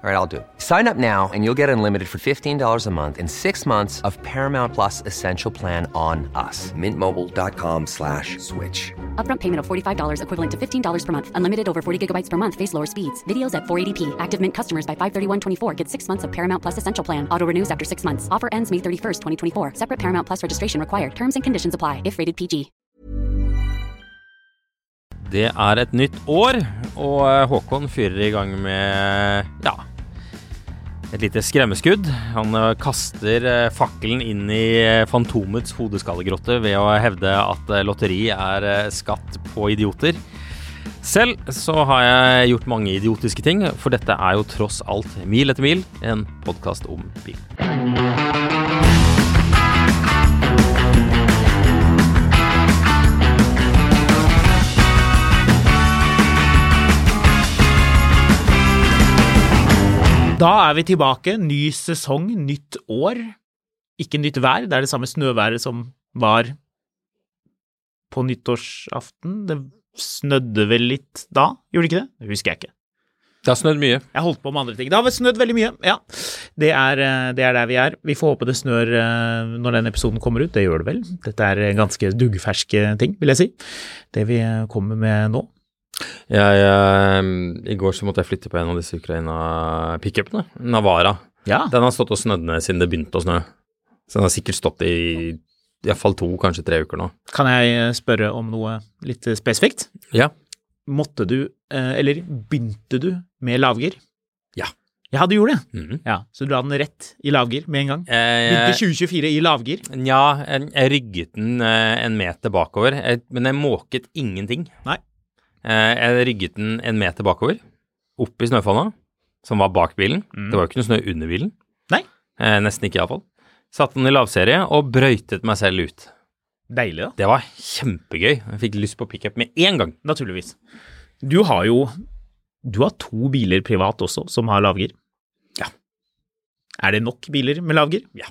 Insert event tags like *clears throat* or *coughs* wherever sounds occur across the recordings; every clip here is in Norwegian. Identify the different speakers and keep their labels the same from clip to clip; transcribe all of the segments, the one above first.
Speaker 1: All right, I'll do it. Sign up now and you'll get unlimited for $15 a month and six months of Paramount Plus Essential Plan on us. Mintmobile.com slash switch.
Speaker 2: Upfront payment of $45 equivalent to $15 per month. Unlimited over 40 gigabytes per month. Face lower speeds. Videos at 480p. Active Mint customers by 531.24 get six months of Paramount Plus Essential Plan. Auto renews after six months. Offer ends May 31st, 2024. Separate Paramount Plus registration required. Terms and conditions apply if rated PG.
Speaker 3: Det er et nytt år, og eh, Håkon fyrer i gang med ja, et lite skremmeskudd. Han eh, kaster eh, fakkelen inn i eh, Fantomets hodeskallegrotte ved å hevde at eh, lotteri er eh, skatt på idioter. Selv så har jeg gjort mange idiotiske ting, for dette er jo tross alt Mil etter mil, en podkast om bil.
Speaker 4: Da er vi tilbake. Ny sesong, nytt år. Ikke nytt vær, det er det samme snøværet som var på nyttårsaften. Det snødde vel litt da, gjorde det ikke det? Det husker jeg ikke.
Speaker 3: Det har snødd mye.
Speaker 4: Jeg holdt på med andre ting. Det har vel snødd veldig mye, ja. Det er, eh, det er der vi er. Vi får håpe det snør eh, når den episoden kommer ut, det gjør det vel. Dette er eh, ganske duggferske ting, vil jeg si. Det vi eh, kommer med nå.
Speaker 3: Jeg, eh, I går så måtte jeg flytte på en av disse Ukraina-pickupene, Navara.
Speaker 4: Ja.
Speaker 3: Den har stått og snødd ned siden det begynte å snø. Så den har sikkert stått i iallfall to, kanskje tre uker nå.
Speaker 4: Kan jeg eh, spørre om noe litt eh, spesifikt?
Speaker 3: Ja.
Speaker 4: måtte du, eh, eller begynte du med lavgir?
Speaker 3: Ja.
Speaker 4: Ja, du gjorde det.
Speaker 3: Mhm.
Speaker 4: Ja, Så du la den rett i lavgir med en gang? Begynte
Speaker 3: Eh,
Speaker 4: 2024 i lavgir?
Speaker 3: ja, jeg, jeg rygget den eh, en meter bakover, jeg, men jeg måket ingenting.
Speaker 4: Nei.
Speaker 3: Eh, jeg rygget den en meter bakover, opp i snøfonna, som var bak bilen.
Speaker 4: Mm.
Speaker 3: Det var jo ikke noe snø under bilen.
Speaker 4: Nei.
Speaker 3: Eh, nesten ikke, iallfall. Satte den i lavserie og brøytet meg selv ut.
Speaker 4: Deilig, da.
Speaker 3: Det var kjempegøy. Jeg fikk lyst på pickup med en gang.
Speaker 4: Naturligvis. Du har jo Du har to biler privat også som har lavgir.
Speaker 3: Ja.
Speaker 4: Er det nok biler med lavgir?
Speaker 3: Ja.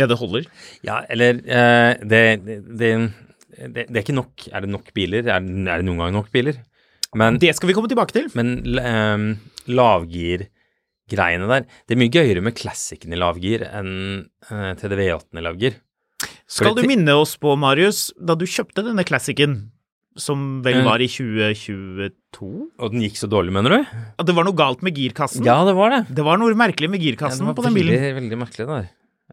Speaker 4: Ja, det holder.
Speaker 3: Ja, eller eh, det, det, det, det er ikke nok. Er det nok biler? Er, det- er det noen gang nok biler? Men,
Speaker 4: Det skal vi komme tilbake til.
Speaker 3: men ehm, lavgirgreiene der Det er mye gøyere med classicen i lavgir enn eh, TDV8-en i lavgir.
Speaker 4: Skal du
Speaker 3: ti-
Speaker 4: minne oss på, Marius, da du kjøpte denne classicen, som vel
Speaker 3: Eh.
Speaker 4: var i 2022?
Speaker 3: Og den gikk så dårlig, mener du?
Speaker 4: At det var noe galt med girkassen?
Speaker 3: Ja, det var det.
Speaker 4: Det var noe merkelig med girkassen
Speaker 3: Ja, det
Speaker 4: på
Speaker 3: var
Speaker 4: den bilen.
Speaker 3: Veldig, veldig merkelig, det der.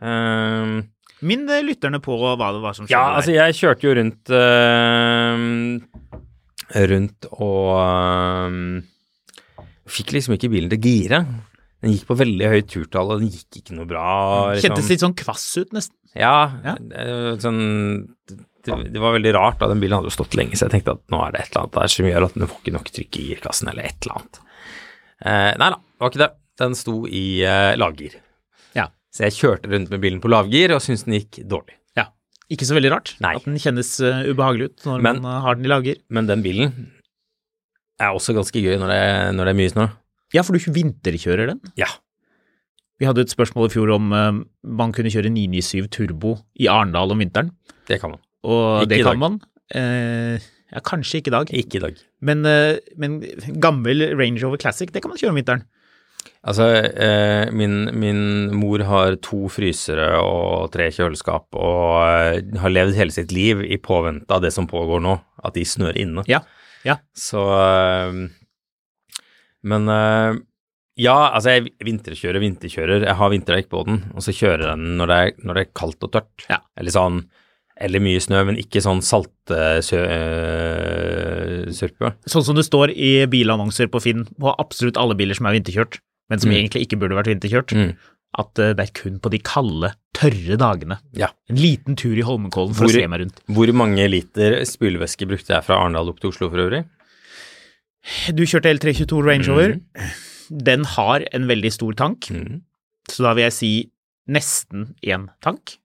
Speaker 3: Ehm,
Speaker 4: Minn eh, lytterne på hva det var som skjedde
Speaker 3: Ja, altså
Speaker 4: der.
Speaker 3: jeg kjørte jo rundt eh, Rundt og eh, Fikk liksom ikke bilen til å gire. Den gikk på veldig høyt turtall, og den gikk ikke noe bra. Liksom.
Speaker 4: Kjentes litt sånn kvass ut, nesten.
Speaker 3: Ja,
Speaker 4: Ja.
Speaker 3: eh, Sånn, det, det var veldig rart, da. Den bilen hadde jo stått lenge, så jeg tenkte at nå er det et eller annet der som gjør at den får ikke nok trykk i girkassen, eller et eller annet. Eh, nei da, det var ikke det. Den sto i eh, lavgir.
Speaker 4: Ja.
Speaker 3: Så jeg kjørte rundt med bilen på lavgir og syntes den gikk dårlig.
Speaker 4: Ikke så veldig rart
Speaker 3: Nei.
Speaker 4: at den kjennes eh, ubehagelig ut når
Speaker 3: Men-
Speaker 4: man eh, har den i lager.
Speaker 3: Men den bilen er også ganske gøy når det, når det er mye snø.
Speaker 4: Ja, for du vinterkjører den.
Speaker 3: Ja.
Speaker 4: Vi hadde et spørsmål i fjor om eh, man kunne kjøre 997 Turbo i Arendal om vinteren,
Speaker 3: Det kan man.
Speaker 4: og
Speaker 3: Ikke i
Speaker 4: det
Speaker 3: dag.
Speaker 4: kan man. Eh, ja, kanskje ikke i dag,
Speaker 3: Ikke i dag.
Speaker 4: men, eh, men gammel Range Rover Classic, det kan man kjøre om vinteren.
Speaker 3: Altså, eh, min, min mor har to frysere og tre kjøleskap og eh, har levd hele sitt liv i påvente av det som pågår nå, at de snør inne.
Speaker 4: Ja, ja.
Speaker 3: Så eh, Men eh, ja, altså, jeg vinterkjører, vinterkjører. Jeg har vinterdekk på den, og så kjører jeg den når det er, når det er kaldt og tørt.
Speaker 4: Ja.
Speaker 3: Eller sånn eller mye snø, men ikke sånn eh, saltsurpe.
Speaker 4: Sånn som det står i bilannonser på Finn på absolutt alle biler som er vinterkjørt, men som
Speaker 3: Mm.
Speaker 4: egentlig ikke burde vært vinterkjørt.
Speaker 3: Mm.
Speaker 4: at eh, det er kun på de kalde, tørre dagene.
Speaker 3: Ja.
Speaker 4: En liten tur i Holmenkollen for
Speaker 3: Hvor-
Speaker 4: å se meg rundt.
Speaker 3: Hvor mange liter spylevæske brukte jeg fra Arendal opp til Oslo for øvrig?
Speaker 4: Du kjørte L322 Range
Speaker 3: Mm.
Speaker 4: Rover. Den har en veldig stor tank, så da vil jeg si nesten én tank.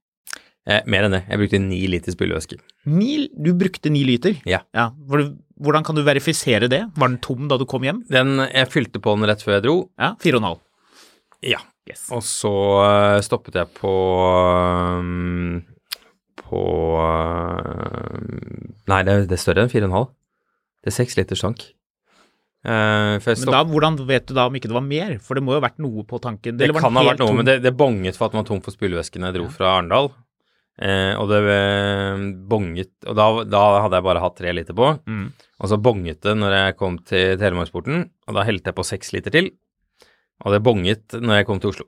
Speaker 3: Eh, mer enn det. Jeg brukte ni liter spylevæske.
Speaker 4: Ni, du brukte ni liter.
Speaker 3: Ja.
Speaker 4: Hvor- Hvordan kan du verifisere det? Var den tom da du kom hjem?
Speaker 3: Den, jeg fylte på den rett før jeg dro.
Speaker 4: Ja, fire og en halv.
Speaker 3: Ja.
Speaker 4: Yes.
Speaker 3: Og så eh, stoppet jeg på um, På um, Nei, det, er- det er større enn 4,5. Det er seks liters tank. Eh, for jeg
Speaker 4: Men
Speaker 3: stopp-
Speaker 4: da, hvordan vet du da om ikke det var mer? For det må jo ha vært noe på tanken.
Speaker 3: det
Speaker 4: Eller var
Speaker 3: kan ha
Speaker 4: den
Speaker 3: vært
Speaker 4: helt
Speaker 3: noe,
Speaker 4: tom?
Speaker 3: men det, det bonget for at den var tom for spylevæske da jeg dro fra Arendal. Eh, og det eh, bonget Og da, da hadde jeg bare hatt tre liter på.
Speaker 4: Mm.
Speaker 3: Og så bonget det når jeg kom til Telemarksporten, og da helte jeg på seks liter til. Og det bonget når jeg kom til Oslo.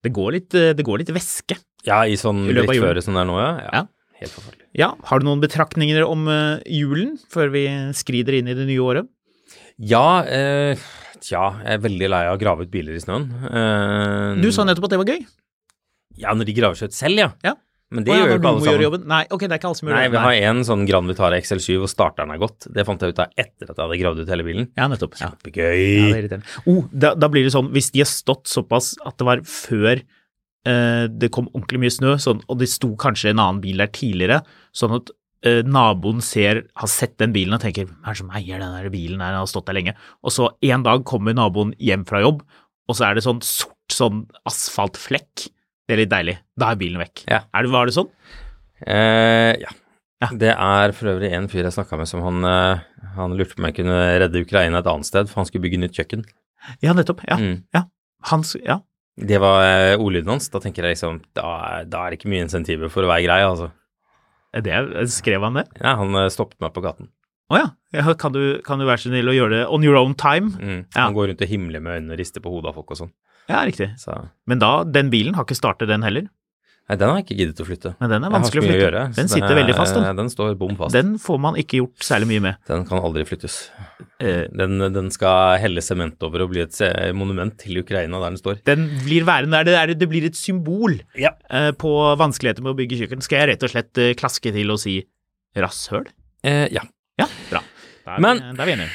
Speaker 4: Det går litt, eh, det går litt væske.
Speaker 3: Ja, i sånn
Speaker 4: I løpet av
Speaker 3: drittføre som det er nå, ja.
Speaker 4: Ja.
Speaker 3: Helt forferdelig.
Speaker 4: Ja, har du noen betraktninger om eh, julen før vi skrider inn i det nye året?
Speaker 3: Ja, eh, tja, jeg er veldig lei av å grave ut biler i snøen. Eh,
Speaker 4: Du sa nettopp at det var gøy.
Speaker 3: Ja, når de graver seg ut selv, ja.
Speaker 4: Ja.
Speaker 3: Men det
Speaker 4: Å ja,
Speaker 3: gjør jo
Speaker 4: når
Speaker 3: ikke
Speaker 4: du
Speaker 3: alle
Speaker 4: må gjøre
Speaker 3: sammen.
Speaker 4: jobben. Nei, ok, det er ikke alle som gjør
Speaker 3: Nei,
Speaker 4: jobben.
Speaker 3: vi har en sånn Grand Vitara XL7 hvor starteren er gått. Det fant jeg ut av etter at jeg hadde gravd ut hele bilen.
Speaker 4: Ja, nettopp. Ja. Ja, det
Speaker 3: Kjempegøy.
Speaker 4: er irriterende. Oh, da, da blir det sånn, hvis de har stått såpass at det var før eh, det kom ordentlig mye snø, sånn, og det sto kanskje en annen bil der tidligere, sånn at eh, naboen ser, har sett den bilen og tenker hvem er det som eier den der bilen her, den har stått der lenge. Og så en dag kommer naboen hjem fra jobb, og så er det sånn sort sånn asfaltflekk. Det er litt deilig. Da er bilen vekk.
Speaker 3: Ja.
Speaker 4: Er det, var det sånn?
Speaker 3: Eh, ja.
Speaker 4: Ja.
Speaker 3: Det er for øvrig en fyr jeg snakka med som han, eh, han lurte på om jeg kunne redde Ukraina et annet sted, for han skulle bygge nytt kjøkken.
Speaker 4: Ja, nettopp. Ja.
Speaker 3: Mm.
Speaker 4: Hans, ja.
Speaker 3: Det var eh, ordlyden hans. Da tenker jeg liksom da, da er det ikke mye insentiver for å være grei, altså.
Speaker 4: Det, skrev han det?
Speaker 3: Ja, han eh, stoppet meg på gaten.
Speaker 4: Å ja. ja. Kan du, kan du være så snill å gjøre det on your own time?
Speaker 3: Mm.
Speaker 4: Ja.
Speaker 3: Han går rundt og himler med øynene og rister på hodet av folk og sånn.
Speaker 4: Ja, riktig.
Speaker 3: Så nei,
Speaker 4: Men da, den bilen har ikke startet den heller.
Speaker 3: den har jeg ikke giddet å flytte.
Speaker 4: Men den er
Speaker 3: Jeg har
Speaker 4: vanskelig
Speaker 3: så
Speaker 4: å
Speaker 3: mye
Speaker 4: flytte.
Speaker 3: gjøre,
Speaker 4: den
Speaker 3: så
Speaker 4: sitter
Speaker 3: er-
Speaker 4: veldig fast, den.
Speaker 3: Den står bom fast. Den,
Speaker 4: Den får man ikke gjort særlig mye med.
Speaker 3: kan aldri flyttes.
Speaker 4: Eh,
Speaker 3: Den, den skal helle sement over og bli et se- monument til Ukraina der den står.
Speaker 4: Den blir værende der. Det, er, det blir et symbol
Speaker 3: Ja.
Speaker 4: eh, på vanskeligheter med å bygge kjøkken. Skal jeg rett og slett eh, klaske til og si rasshøl?
Speaker 3: Eh, ja.
Speaker 4: Ja, bra. Da er,
Speaker 3: Men-
Speaker 4: vi, da er vi enige.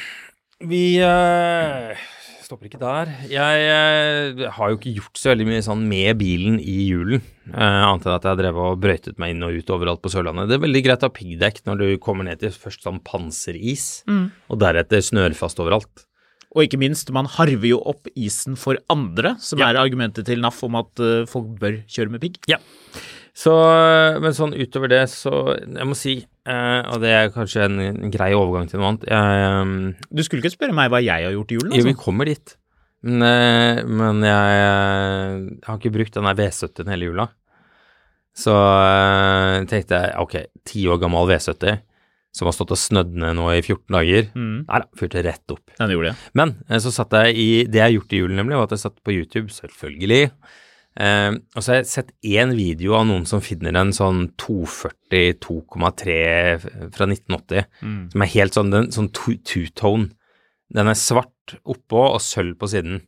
Speaker 3: Vi eh, stopper ikke der. Jeg eh, har jo ikke gjort så veldig mye sånn med bilen i julen. eh, annet enn at jeg har drevet og brøytet meg inn og ut overalt på Sørlandet. Det er veldig greit å ha piggdekk når du kommer ned til først sånn panseris, og deretter snørfast overalt.
Speaker 4: Og ikke minst, man harver jo opp isen for andre, som
Speaker 3: Ja.
Speaker 4: er argumentet til NAF om at eh, folk bør kjøre med pigg.
Speaker 3: Så, eh, men sånn utover det, så Jeg må si, eh, og det er kanskje en, en grei overgang til noe annet jeg, eh,
Speaker 4: Du skulle ikke spørre meg hva jeg har gjort i julen,
Speaker 3: Jo, vi
Speaker 4: altså.
Speaker 3: kommer dit. Men, eh, men jeg, eh, har ikke brukt den der V70-en hele jula. Så eh, tenkte jeg ok, ti år gammel V70 som har stått og snødd ned nå i 14 dager.
Speaker 4: Mm.
Speaker 3: Nei da, fyrte rett opp.
Speaker 4: Ja, det gjorde jeg.
Speaker 3: Men eh, så satt jeg i Det jeg har gjort i julen, nemlig, var at jeg satt på YouTube, selvfølgelig. Eh, og så har jeg sett én video av noen som finner en sånn 240 2,3 fra 1980,
Speaker 4: Mm.
Speaker 3: som er helt sånn den, sånn two- two-tone. Den er svart oppå og sølv på siden.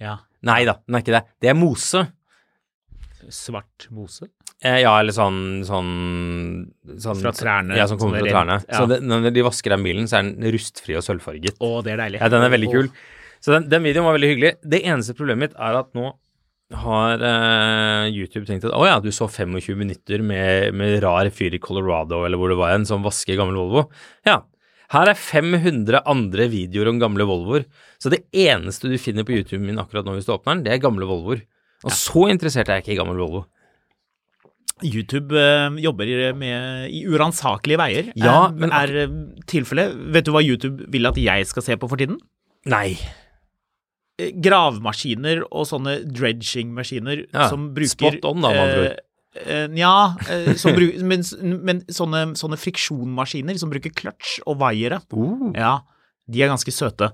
Speaker 4: Ja.
Speaker 3: Nei da, den er ikke det. Det er mose.
Speaker 4: Svart mose?
Speaker 3: Eh, ja, eller sånn, sånn, sånn
Speaker 4: Fra trærne,
Speaker 3: Ja, som kommer
Speaker 4: som er
Speaker 3: fra trærne.
Speaker 4: rent, ja.
Speaker 3: Så det, når de vasker den bilen, så er den rustfri og sølvfarget.
Speaker 4: Å, det er deilig.
Speaker 3: Ja, den er veldig
Speaker 4: Å.
Speaker 3: kul. Så den, den videoen var veldig hyggelig. Det eneste problemet mitt er at nå har eh, YouTube tenkt at å ja, du så 25 minutter med, med rar fyr i Colorado eller hvor det var en som vasker gammel Volvo. Ja, her er 500 andre videoer om gamle Volvoer. Så det eneste du finner på YouTube min akkurat nå hvis du åpner den, det er gamle Volvoer. Og så interessert er jeg ikke i gammel Volvo.
Speaker 4: YouTube eh, jobber i- med, i uransakelige veier.
Speaker 3: Ja,
Speaker 4: Eh,
Speaker 3: men-
Speaker 4: er eh, tilfellet. Vet du hva YouTube vil at jeg skal se på for tiden?
Speaker 3: Nei.
Speaker 4: Eh, Gravemaskiner og sånne dredging-maskiner
Speaker 3: Ja,
Speaker 4: som bruker eh,
Speaker 3: spot on da, med andre ord.
Speaker 4: Nja, eh, *laughs* men, s- men sånne, sånne friksjonmaskiner som bruker kløtsj og vaiere. Ja, de er ganske søte.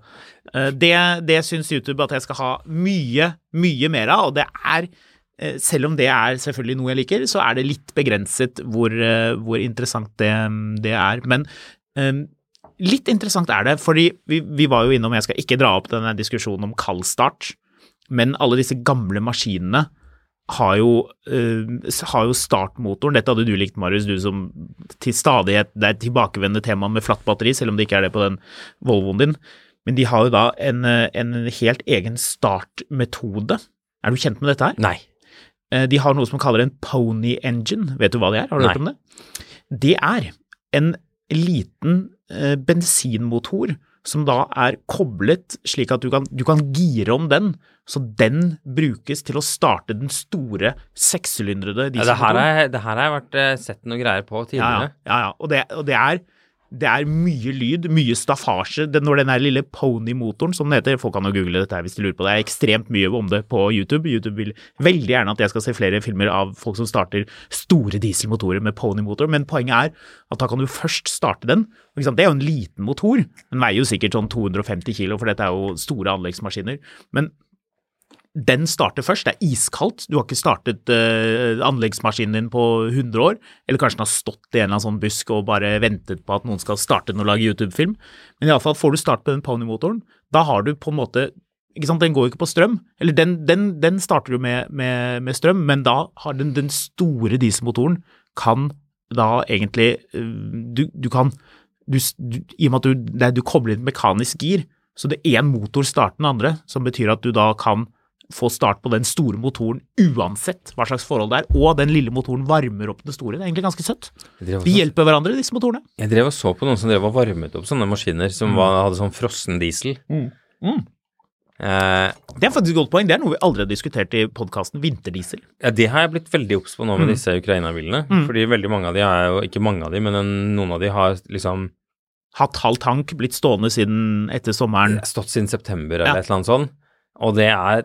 Speaker 4: Eh, Det, det syns YouTube at jeg skal ha mye, mye mer av, og det er eh, selv om det er selvfølgelig noe jeg liker, så er det litt begrenset hvor, eh, hvor interessant det, det er. Men eh, litt interessant er det, fordi vi, vi var jo innom Jeg skal ikke dra opp denne diskusjonen om kaldstart, Men alle disse gamle maskinene har jo, eh, s- har jo startmotoren. Dette hadde du likt, Marius, du som til stadighet Det er et tilbakevendende tema med flatt batteri, selv om det ikke er det på den Volvoen din. Men de har jo da en, eh, en helt egen startmetode. Er du kjent med dette her?
Speaker 3: Nei.
Speaker 4: Eh, De har noe som kaller en pony engine. Vet du hva det er? Har du
Speaker 3: Nei.
Speaker 4: hørt om det? Det er en liten eh, bensinmotor som da er koblet slik at du kan, du kan gire om den, så den brukes til å starte den store sekssylindrede
Speaker 3: Ja, det, her
Speaker 4: dieselmotoren.
Speaker 3: har jeg, det her har jeg vært, eh, sett noen greier på
Speaker 4: Ja, ja,
Speaker 3: tidligere.
Speaker 4: ja, ja. Og, det, og det, er, det er mye lyd, mye staffasje. Den, når den der lille ponymotoren, som den heter Folk kan jo google dette her hvis de lurer på det. Det er ekstremt mye om det på YouTube. YouTube vil veldig gjerne at jeg skal se flere filmer av folk som starter store dieselmotorer med ponymotor, men poenget er at da kan du først starte den. Ikke sant? Det er jo en liten motor. Den veier jo sikkert sånn 250 kilo, for dette er jo store anleggsmaskiner. Men den starter først. Det er iskaldt. Du har ikke startet eh, anleggsmaskinen din på 100 år. Eller kanskje den har stått i en eller annen sånn busk og bare ventet på at noen skal starte den og lage YouTube-film. Men iallfall, får du start på den ponymotoren, da har du på en måte ikke sant, Den går jo ikke på strøm. Eller den, den, den starter jo med, med, med strøm, men da har den den store dieselmotoren kan da egentlig eh, Du, du kan du, s- du, I og med at du, det er- du kobler inn mekanisk gir, så det er én motor starter den andre, som betyr at du da kan få start på den store motoren uansett hva slags forhold det er, og den lille motoren varmer opp den store. Det er egentlig ganske søtt.
Speaker 3: Jeg drev
Speaker 4: De
Speaker 3: også-
Speaker 4: hjelper hverandre, disse motorene.
Speaker 3: Jeg drev og så på noen som drev og varmet opp sånne maskiner
Speaker 4: Mm.
Speaker 3: som var, hadde sånn frossen diesel. Eh,
Speaker 4: Det er faktisk et godt poeng. Det er noe vi aldri har diskutert i podkasten Vinterdiesel.
Speaker 3: ja, det har jeg blitt veldig obs på nå
Speaker 4: Mm.
Speaker 3: med disse Ukraina-bilene. Fordi veldig mange av de er jo Ikke mange av de, men en- noen av de har liksom
Speaker 4: Hatt halv tank, blitt stående siden etter sommeren.
Speaker 3: stått siden september eller
Speaker 4: Ja.
Speaker 3: et eller annet sånt. Og det er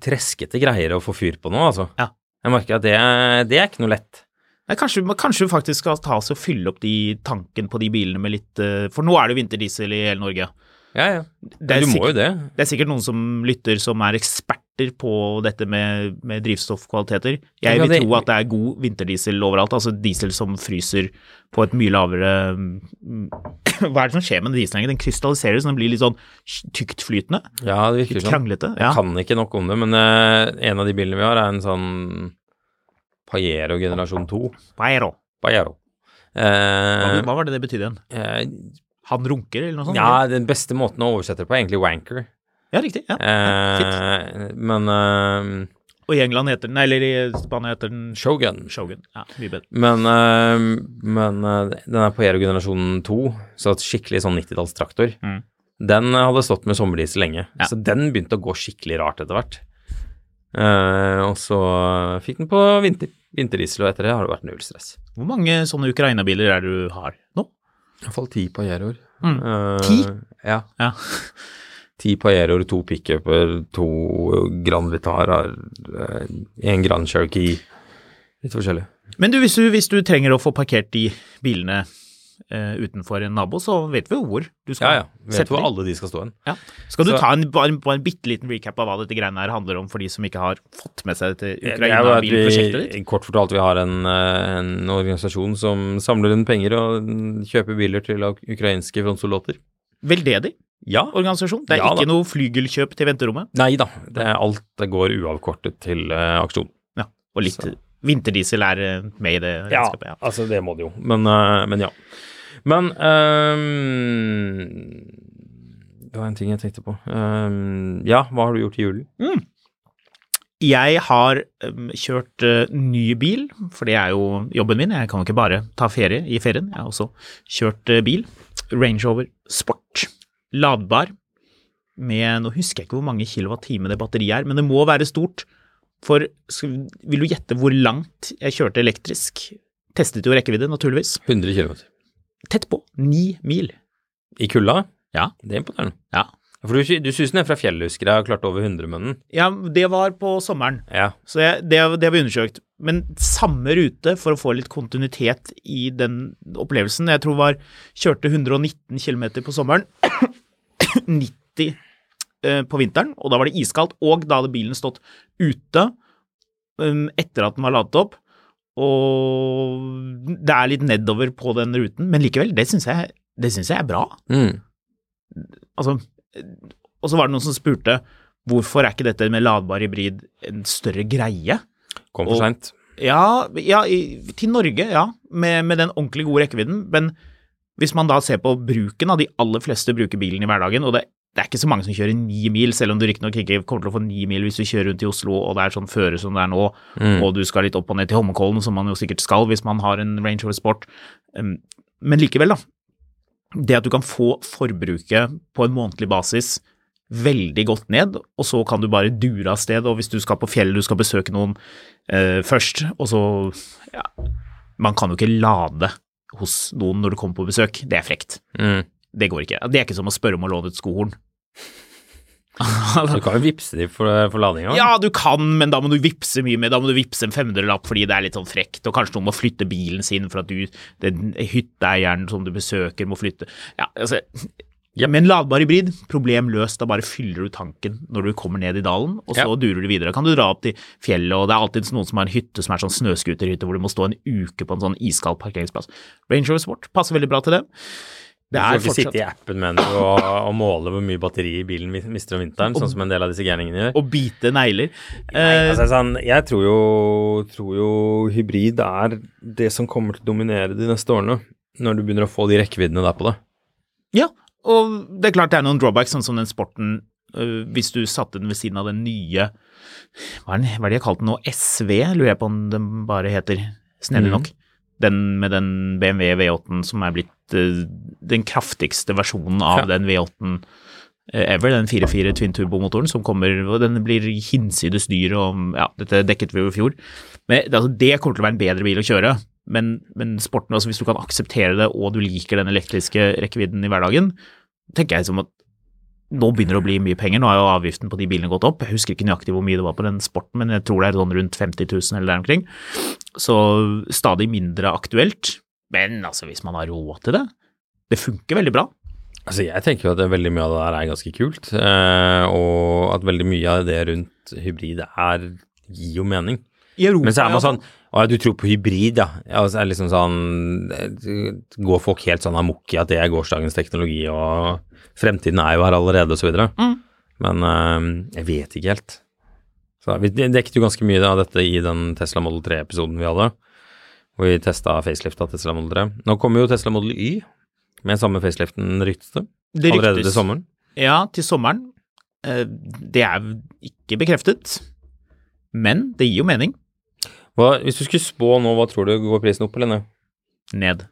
Speaker 3: treskete greier å få fyr på nå, altså.
Speaker 4: Ja.
Speaker 3: Jeg merker at det, er- det er ikke noe lett.
Speaker 4: Nei, kanskje, men kanskje vi faktisk skal ta oss og fylle opp de tanken på de bilene med litt eh, For nå er det jo vinterdiesel i hele Norge.
Speaker 3: Ja, ja.
Speaker 4: Det er
Speaker 3: du må
Speaker 4: sikkert-
Speaker 3: jo det.
Speaker 4: Det er sikkert noen som lytter som er eksperter på dette med, med drivstoffkvaliteter. Jeg
Speaker 3: Ja,
Speaker 4: vil
Speaker 3: det-
Speaker 4: tro at det er god vinterdiesel overalt, altså diesel som fryser på et mye lavere mm, *clears throat* Hva er det som skjer med den dieselen? egentlig? Den krystalliserer, så den blir litt sånn tyktflytende.
Speaker 3: Ja, det virker
Speaker 4: Litt
Speaker 3: sånn.
Speaker 4: kranglete. Ja.
Speaker 3: Kan ikke nok om det, men eh, en av de bilene vi har, er en sånn Pajero generasjon 2.
Speaker 4: Paero.
Speaker 3: Pajero.
Speaker 4: Hva,
Speaker 3: Eh,
Speaker 4: hva var det det betydde igjen?
Speaker 3: eh,
Speaker 4: Han runker, eller noe sånt?
Speaker 3: ja, den beste måten å oversette det på er egentlig wanker.
Speaker 4: ja riktig. Ja.
Speaker 3: Eh,
Speaker 4: Fint.
Speaker 3: men eh,
Speaker 4: Og i England heter den, nei, eller i Spania heter den
Speaker 3: Shogun.
Speaker 4: Shogun. Ja, mye bedre.
Speaker 3: Men, eh, men eh, den er Pajero generasjon 2, så et skikkelig sånn 90-tallstraktor.
Speaker 4: Mm.
Speaker 3: Den eh, hadde stått med sommerdiesel lenge,
Speaker 4: Ja.
Speaker 3: så den begynte å gå skikkelig rart etter hvert. Eh, og så fikk den på vinter, vinterdiesel, og etter det har det vært null stress.
Speaker 4: Hvor mange sånne Ukraina-biler er det du har nå?
Speaker 3: I hvert fall ti Pajeroer.
Speaker 4: Mm.
Speaker 3: Eh,
Speaker 4: Ti?
Speaker 3: Ja.
Speaker 4: Ja.
Speaker 3: Ti Pajeroer, to pickuper, to Grand Vitarer, eh, en Grand Cherokee. Litt forskjellig.
Speaker 4: Men du, hvis du, hvis du trenger å få parkert de bilene eh, utenfor en nabo, så vet vi jo hvor du
Speaker 3: Ja,
Speaker 4: skal
Speaker 3: ja. Vet hvor
Speaker 4: de.
Speaker 3: alle de skal stå hen.
Speaker 4: Ja. Skal du
Speaker 3: Så-
Speaker 4: ta en, bare, en- bare en bitte liten recap av hva dette greiene her handler om for de som ikke har fått med seg dette Ukraina-bilprosjektet ditt?
Speaker 3: Vi, kort fortalt, vi har en, eh, en organisasjon som samler inn penger og mm, kjøper biler til ak- ukrainske frontsoldater.
Speaker 4: Veldedig
Speaker 3: Ja.
Speaker 4: organisasjon. Det er
Speaker 3: Ja, da.
Speaker 4: ikke noe flygelkjøp til venterommet,
Speaker 3: Nei da. Det er alt det går uavkortet til eh, aksjon.
Speaker 4: ja. og litt
Speaker 3: Så-
Speaker 4: vinterdiesel er eh, med i det regnskapet. Ja.
Speaker 3: altså det må det jo. Men, eh, men ja. Men ehm, Det var en ting jeg tenkte på. Ehm, ja, hva har du gjort i julen?
Speaker 4: Jeg har em, kjørt eh, ny bil, for det er jo jobben min. Jeg kan jo ikke bare ta ferie i ferien. Jeg har også kjørt eh, bil. Range Rover Sport. Ladbar. Med, nå husker jeg ikke hvor mange kilowatt-time det batteriet er, men det må være stort. For skal, vil du gjette hvor langt jeg kjørte elektrisk? Testet jo rekkevidde, naturligvis.
Speaker 3: 100 km.
Speaker 4: Tett på. Ni mil.
Speaker 3: I kulda?
Speaker 4: Ja.
Speaker 3: Det er imponerende.
Speaker 4: Ja.
Speaker 3: For du, du syns den er fra fjellet, husker jeg, og klarte over 100 med den.
Speaker 4: ja, det var på sommeren.
Speaker 3: Ja.
Speaker 4: Så jeg, det, har- det har vi undersøkt. Men samme rute for å få litt kontinuitet i den opplevelsen. Jeg tror var kjørte 119 km på sommeren, *clears throat* 90 eh, på vinteren, og da var det iskaldt. Og da hadde bilen stått ute um, etter at den var ladet opp. Og det er litt nedover på den ruten, men likevel, det syns jeg, det synes jeg er bra.
Speaker 3: Mm.
Speaker 4: Altså, eh, og så var det noen som spurte Hvorfor er ikke dette med ladbar hybrid en større greie?
Speaker 3: Kom for
Speaker 4: Og-
Speaker 3: seint.
Speaker 4: Ja, ja i, til Norge, ja, med, med den ordentlig gode rekkevidden. Men hvis man da ser på bruken av de aller fleste bruker bilen i hverdagen, og det, det er ikke så mange som kjører ni mil, selv om du riktignok ikke kommer til å få ni mil hvis du kjører rundt i Oslo og det er sånn føre som det er nå, og du skal litt opp og ned til Holmenkollen, som man jo sikkert skal hvis man har en Range Rover Sport. Um, Men likevel, da. Det at du kan få forbruket på en månedlig basis veldig godt ned, og så kan du bare dure av sted. Og hvis du skal på fjellet, du skal besøke noen eh, først, og så ja, Man kan jo ikke lade hos noen når du kommer på besøk. Det er frekt.
Speaker 3: Mm.
Speaker 4: Det går ikke. Det er ikke som å spørre om å låne et skohorn.
Speaker 3: Du kan jo vippse de for, eh, for ladinga.
Speaker 4: Altså- Ja, du kan, men da må du vippse mye mer. Da må du vippse en 500-lapp fordi det er litt sånn frekt, og kanskje noen må flytte bilen sin for at du, den hytteeieren som du besøker, må flytte. Ja, altså
Speaker 3: Yep.
Speaker 4: Med en ladbar hybrid, problem løst. Da bare fyller du tanken når du kommer ned i dalen, og så
Speaker 3: Ja.
Speaker 4: durer du videre. Da Kan du dra opp til fjellet, og det er alltid noen som har en hytte som er sånn snøscooterhytte hvor du må stå en uke på en sånn iskald parkeringsplass. Range Rover Sport passer veldig bra til dem.
Speaker 3: Du
Speaker 4: Det
Speaker 3: får
Speaker 4: er
Speaker 3: ikke sitte i
Speaker 4: fortsatt
Speaker 3: appen mener du, og, og måle hvor mye batteri bilen mi- mister om vinteren, sånn som en del av disse gærningene gjør.
Speaker 4: å bite negler.
Speaker 3: Nei,
Speaker 4: Eh,
Speaker 5: Altså, sånn, jeg tror jo, tror jo hybrid er det som kommer til å dominere de neste årene, når du begynner å få de rekkeviddene der på det.
Speaker 4: Ja, og det er klart det er noen drawbacks, sånn som den sporten øh, Hvis du satte den ved siden av den nye Hva er, den, hva er det de har kalt den nå? SV? Lurer jeg på om den bare heter snedig nok. Den med den BMW V8-en som er blitt øh, den kraftigste versjonen av den V8-en eh, ever, den 4.4 twin turbo-motoren som kommer, og den blir hinsides dyr og mm, ja, dette dekket vi jo i fjor. Men det- altså, det kommer til å være en bedre bil å kjøre, men, men sporten, altså hvis du kan akseptere det og du liker den elektriske rekkevidden i hverdagen, tenker jeg som at nå begynner det å bli mye penger, nå har jo avgiften på de bilene gått opp, jeg husker ikke nøyaktig hvor mye det var på den sporten, men jeg tror det er sånn rundt 50 000 eller der omkring, så stadig mindre aktuelt, men altså hvis man har råd til det, det funker veldig bra.
Speaker 3: Altså, jeg tenker jo at det er veldig mye av det der er ganske kult, eh, og at veldig mye av det rundt hybrid er gir jo mening.
Speaker 4: I Europa,
Speaker 3: Men så er
Speaker 4: ja.
Speaker 3: man sånn Å ja, du tror på hybrid, ja. ja og så er det liksom sånn eh, Går folk helt sånn amok i at det er gårsdagens teknologi, og fremtiden er jo her allerede, og så videre.
Speaker 4: Mm.
Speaker 3: Men eh, jeg vet ikke helt. Så vi dekket jo ganske mye av dette i den Tesla Model 3-episoden vi hadde, hvor vi testa facelift av Tesla Model 3. Nå kommer jo Tesla Model Y med samme faceliften, ryktes det.
Speaker 4: Det
Speaker 3: Allerede
Speaker 4: ryktes.
Speaker 3: til sommeren.
Speaker 4: Ja, til sommeren. Eh, Det er jo ikke bekreftet, men det gir jo mening.
Speaker 3: Hva, hvis du skulle spå nå, hva tror du går prisen opp eller ned?
Speaker 4: Ned.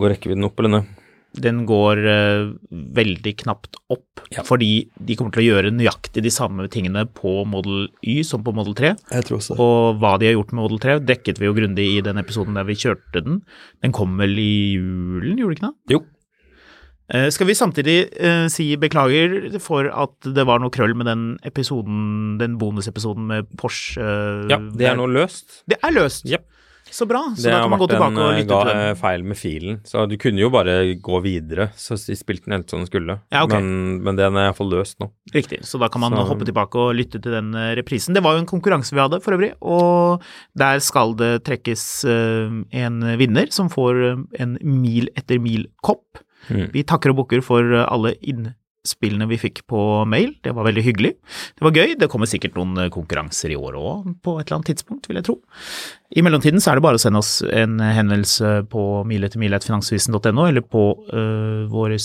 Speaker 3: Går rekkevidden opp eller ned?
Speaker 4: Den går eh, veldig knapt opp, fordi de kommer til å gjøre nøyaktig de samme tingene på Model Y som på Model 3.
Speaker 5: Jeg tror også
Speaker 4: Og hva de har gjort med Model 3, dekket vi jo grundig i den episoden der vi kjørte den. Den kom vel i julen, gjorde den ikke det?
Speaker 3: Jo.
Speaker 4: Eh, Skal vi samtidig eh, si beklager for at det var noe krøll med den episoden, den bonusepisoden med Porsche? eh,
Speaker 3: Ja, det er nå løst.
Speaker 4: Det er løst!
Speaker 3: Jep.
Speaker 4: Så bra. Så
Speaker 3: det
Speaker 4: da
Speaker 3: har
Speaker 4: kan man gå
Speaker 3: vært en
Speaker 4: tilbake og
Speaker 3: eh,
Speaker 4: lytte
Speaker 3: ga,
Speaker 4: til
Speaker 3: eh,
Speaker 4: den.
Speaker 3: feil med filen, så du kunne jo bare gå videre. Så de spilte den helt som den skulle.
Speaker 4: Ja, ok.
Speaker 3: men, men den er iallfall løst nå.
Speaker 4: Riktig. Så da kan man
Speaker 3: så-
Speaker 4: hoppe tilbake og lytte til den eh, reprisen. Det var jo en konkurranse vi hadde for øvrig, og der skal det trekkes eh, en vinner som får eh, en mil etter mil-kopp.
Speaker 3: Mm.
Speaker 4: Vi takker og bukker for eh, alle innspillene vi fikk på mail. Det var veldig hyggelig. Det var gøy. Det kommer sikkert noen eh, konkurranser i år òg, på et eller annet tidspunkt, vil jeg tro. I mellomtiden så er det bare å sende oss en henvendelse på milettermile.finansvisen.no, eller på uh, våre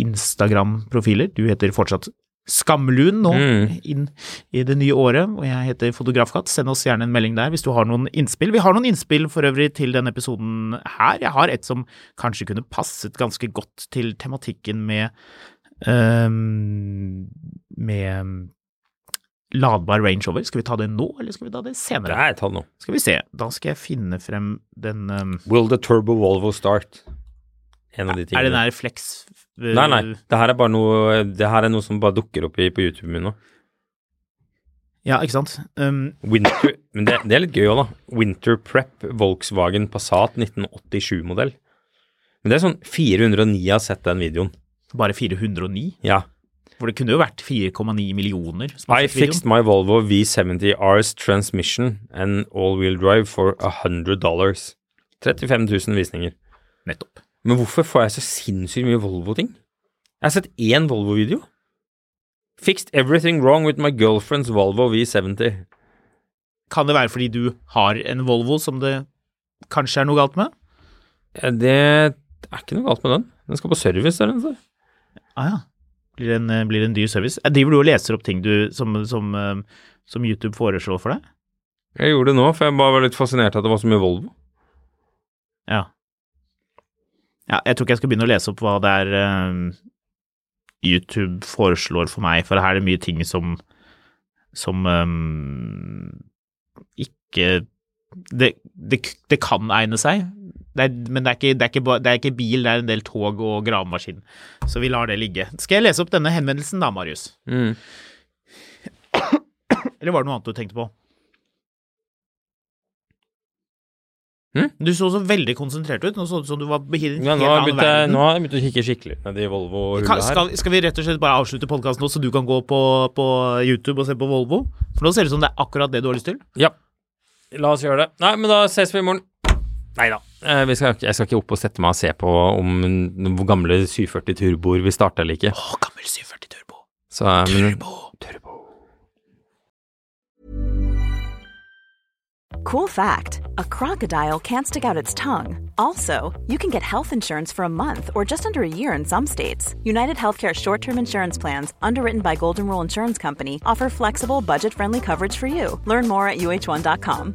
Speaker 4: Instagram-profiler. Du heter fortsatt Skamlun nå,
Speaker 3: Mm.
Speaker 4: inn i det nye året, og jeg heter Fotografkatt. Send oss gjerne en melding der hvis du har noen innspill. Vi har noen innspill for øvrig til denne episoden her. Jeg har et som kanskje kunne passet ganske godt til tematikken med øhm, med ladbar Range Rover. Skal vi ta det nå, eller skal vi ta det senere?
Speaker 3: Nei, ta det nå.
Speaker 4: Skal vi se, da skal jeg finne frem den um,
Speaker 3: Will the turbo Volvo start? En av de
Speaker 4: Er det den
Speaker 3: tingene.
Speaker 4: her flex uh,
Speaker 3: Nei, nei. Det her er bare noe Det her er noe som bare dukker opp i, på YouTube min nå.
Speaker 4: Ja, ikke sant? Um,
Speaker 3: Winter Men det, det er litt gøy òg, da. Winter Prep Volkswagen Passat 1987-modell. Men det er sånn 409 har sett den videoen.
Speaker 4: bare 409?
Speaker 3: Ja.
Speaker 4: For det kunne jo vært 4,9 millioner. som har
Speaker 3: I
Speaker 4: sett Altså, videoen.
Speaker 3: fixed my Volvo V70R's transmission and all-wheel drive for 100 dollars. 35 000 visninger.
Speaker 4: Nettopp.
Speaker 3: Men hvorfor får jeg så sinnssykt mye Volvo-ting? Jeg har sett én Volvo-video. Fixed everything wrong with my girlfriend's Volvo V70.
Speaker 4: Kan det være fordi du har en Volvo som det kanskje er noe galt med?
Speaker 3: Ja, Eh, Det er ikke noe galt med den. Den skal på service. Der, den står.
Speaker 4: Ah, ja. Blir det, en, eh, blir det en dyr service? Eh, Driver du og leser opp ting du, som, som, eh, som YouTube foreslår for deg?
Speaker 3: Jeg gjorde det nå, for jeg bare var litt fascinert av at det var så mye Volvo.
Speaker 4: Ja. ja. Jeg tror ikke jeg skal begynne å lese opp hva det er eh, YouTube foreslår for meg, for her er det mye ting som som eh, ikke det, det, det kan egne seg, det er, men det er, ikke, det, er ikke, ba- det er ikke bil, det er en del tog og gravemaskin. Så vi lar det ligge. Skal jeg lese opp denne henvendelsen da, Marius?
Speaker 3: Mm.
Speaker 4: Eller var det noe annet du tenkte på?
Speaker 3: Hm?
Speaker 4: Du så så veldig konsentrert ut. Nå så det ut som du var i en
Speaker 3: Ja, nå har
Speaker 4: helt
Speaker 3: jeg
Speaker 4: annen
Speaker 3: begynt å-
Speaker 4: verden.
Speaker 3: nå har jeg begynt å kikke skikkelig ned i
Speaker 4: Kan,
Speaker 3: Volvo-hullet her.
Speaker 4: skal, skal vi rett og slett bare avslutte podkasten nå, så du kan gå på, på YouTube og se på Volvo? For nå ser det ut som det er akkurat det du har lyst til.
Speaker 3: Ja. La oss gjøre det. Nei, men da ses vi i morgen. Nei da. Eh, vi skal, ikke- jeg skal ikke opp og sette meg og se på om n- hvor gamle 740 turboer vi starta eller ikke.
Speaker 4: Å, gammel 740 Turbo.
Speaker 3: Så, eh, men,
Speaker 6: Cool fact a crocodile can't stick out its tongue. Also, you can get health insurance for a month or just under a year in some states. United Healthcare short term insurance plans, underwritten by Golden Rule Insurance Company, offer flexible, budget friendly coverage for you. Learn more at uh1.com.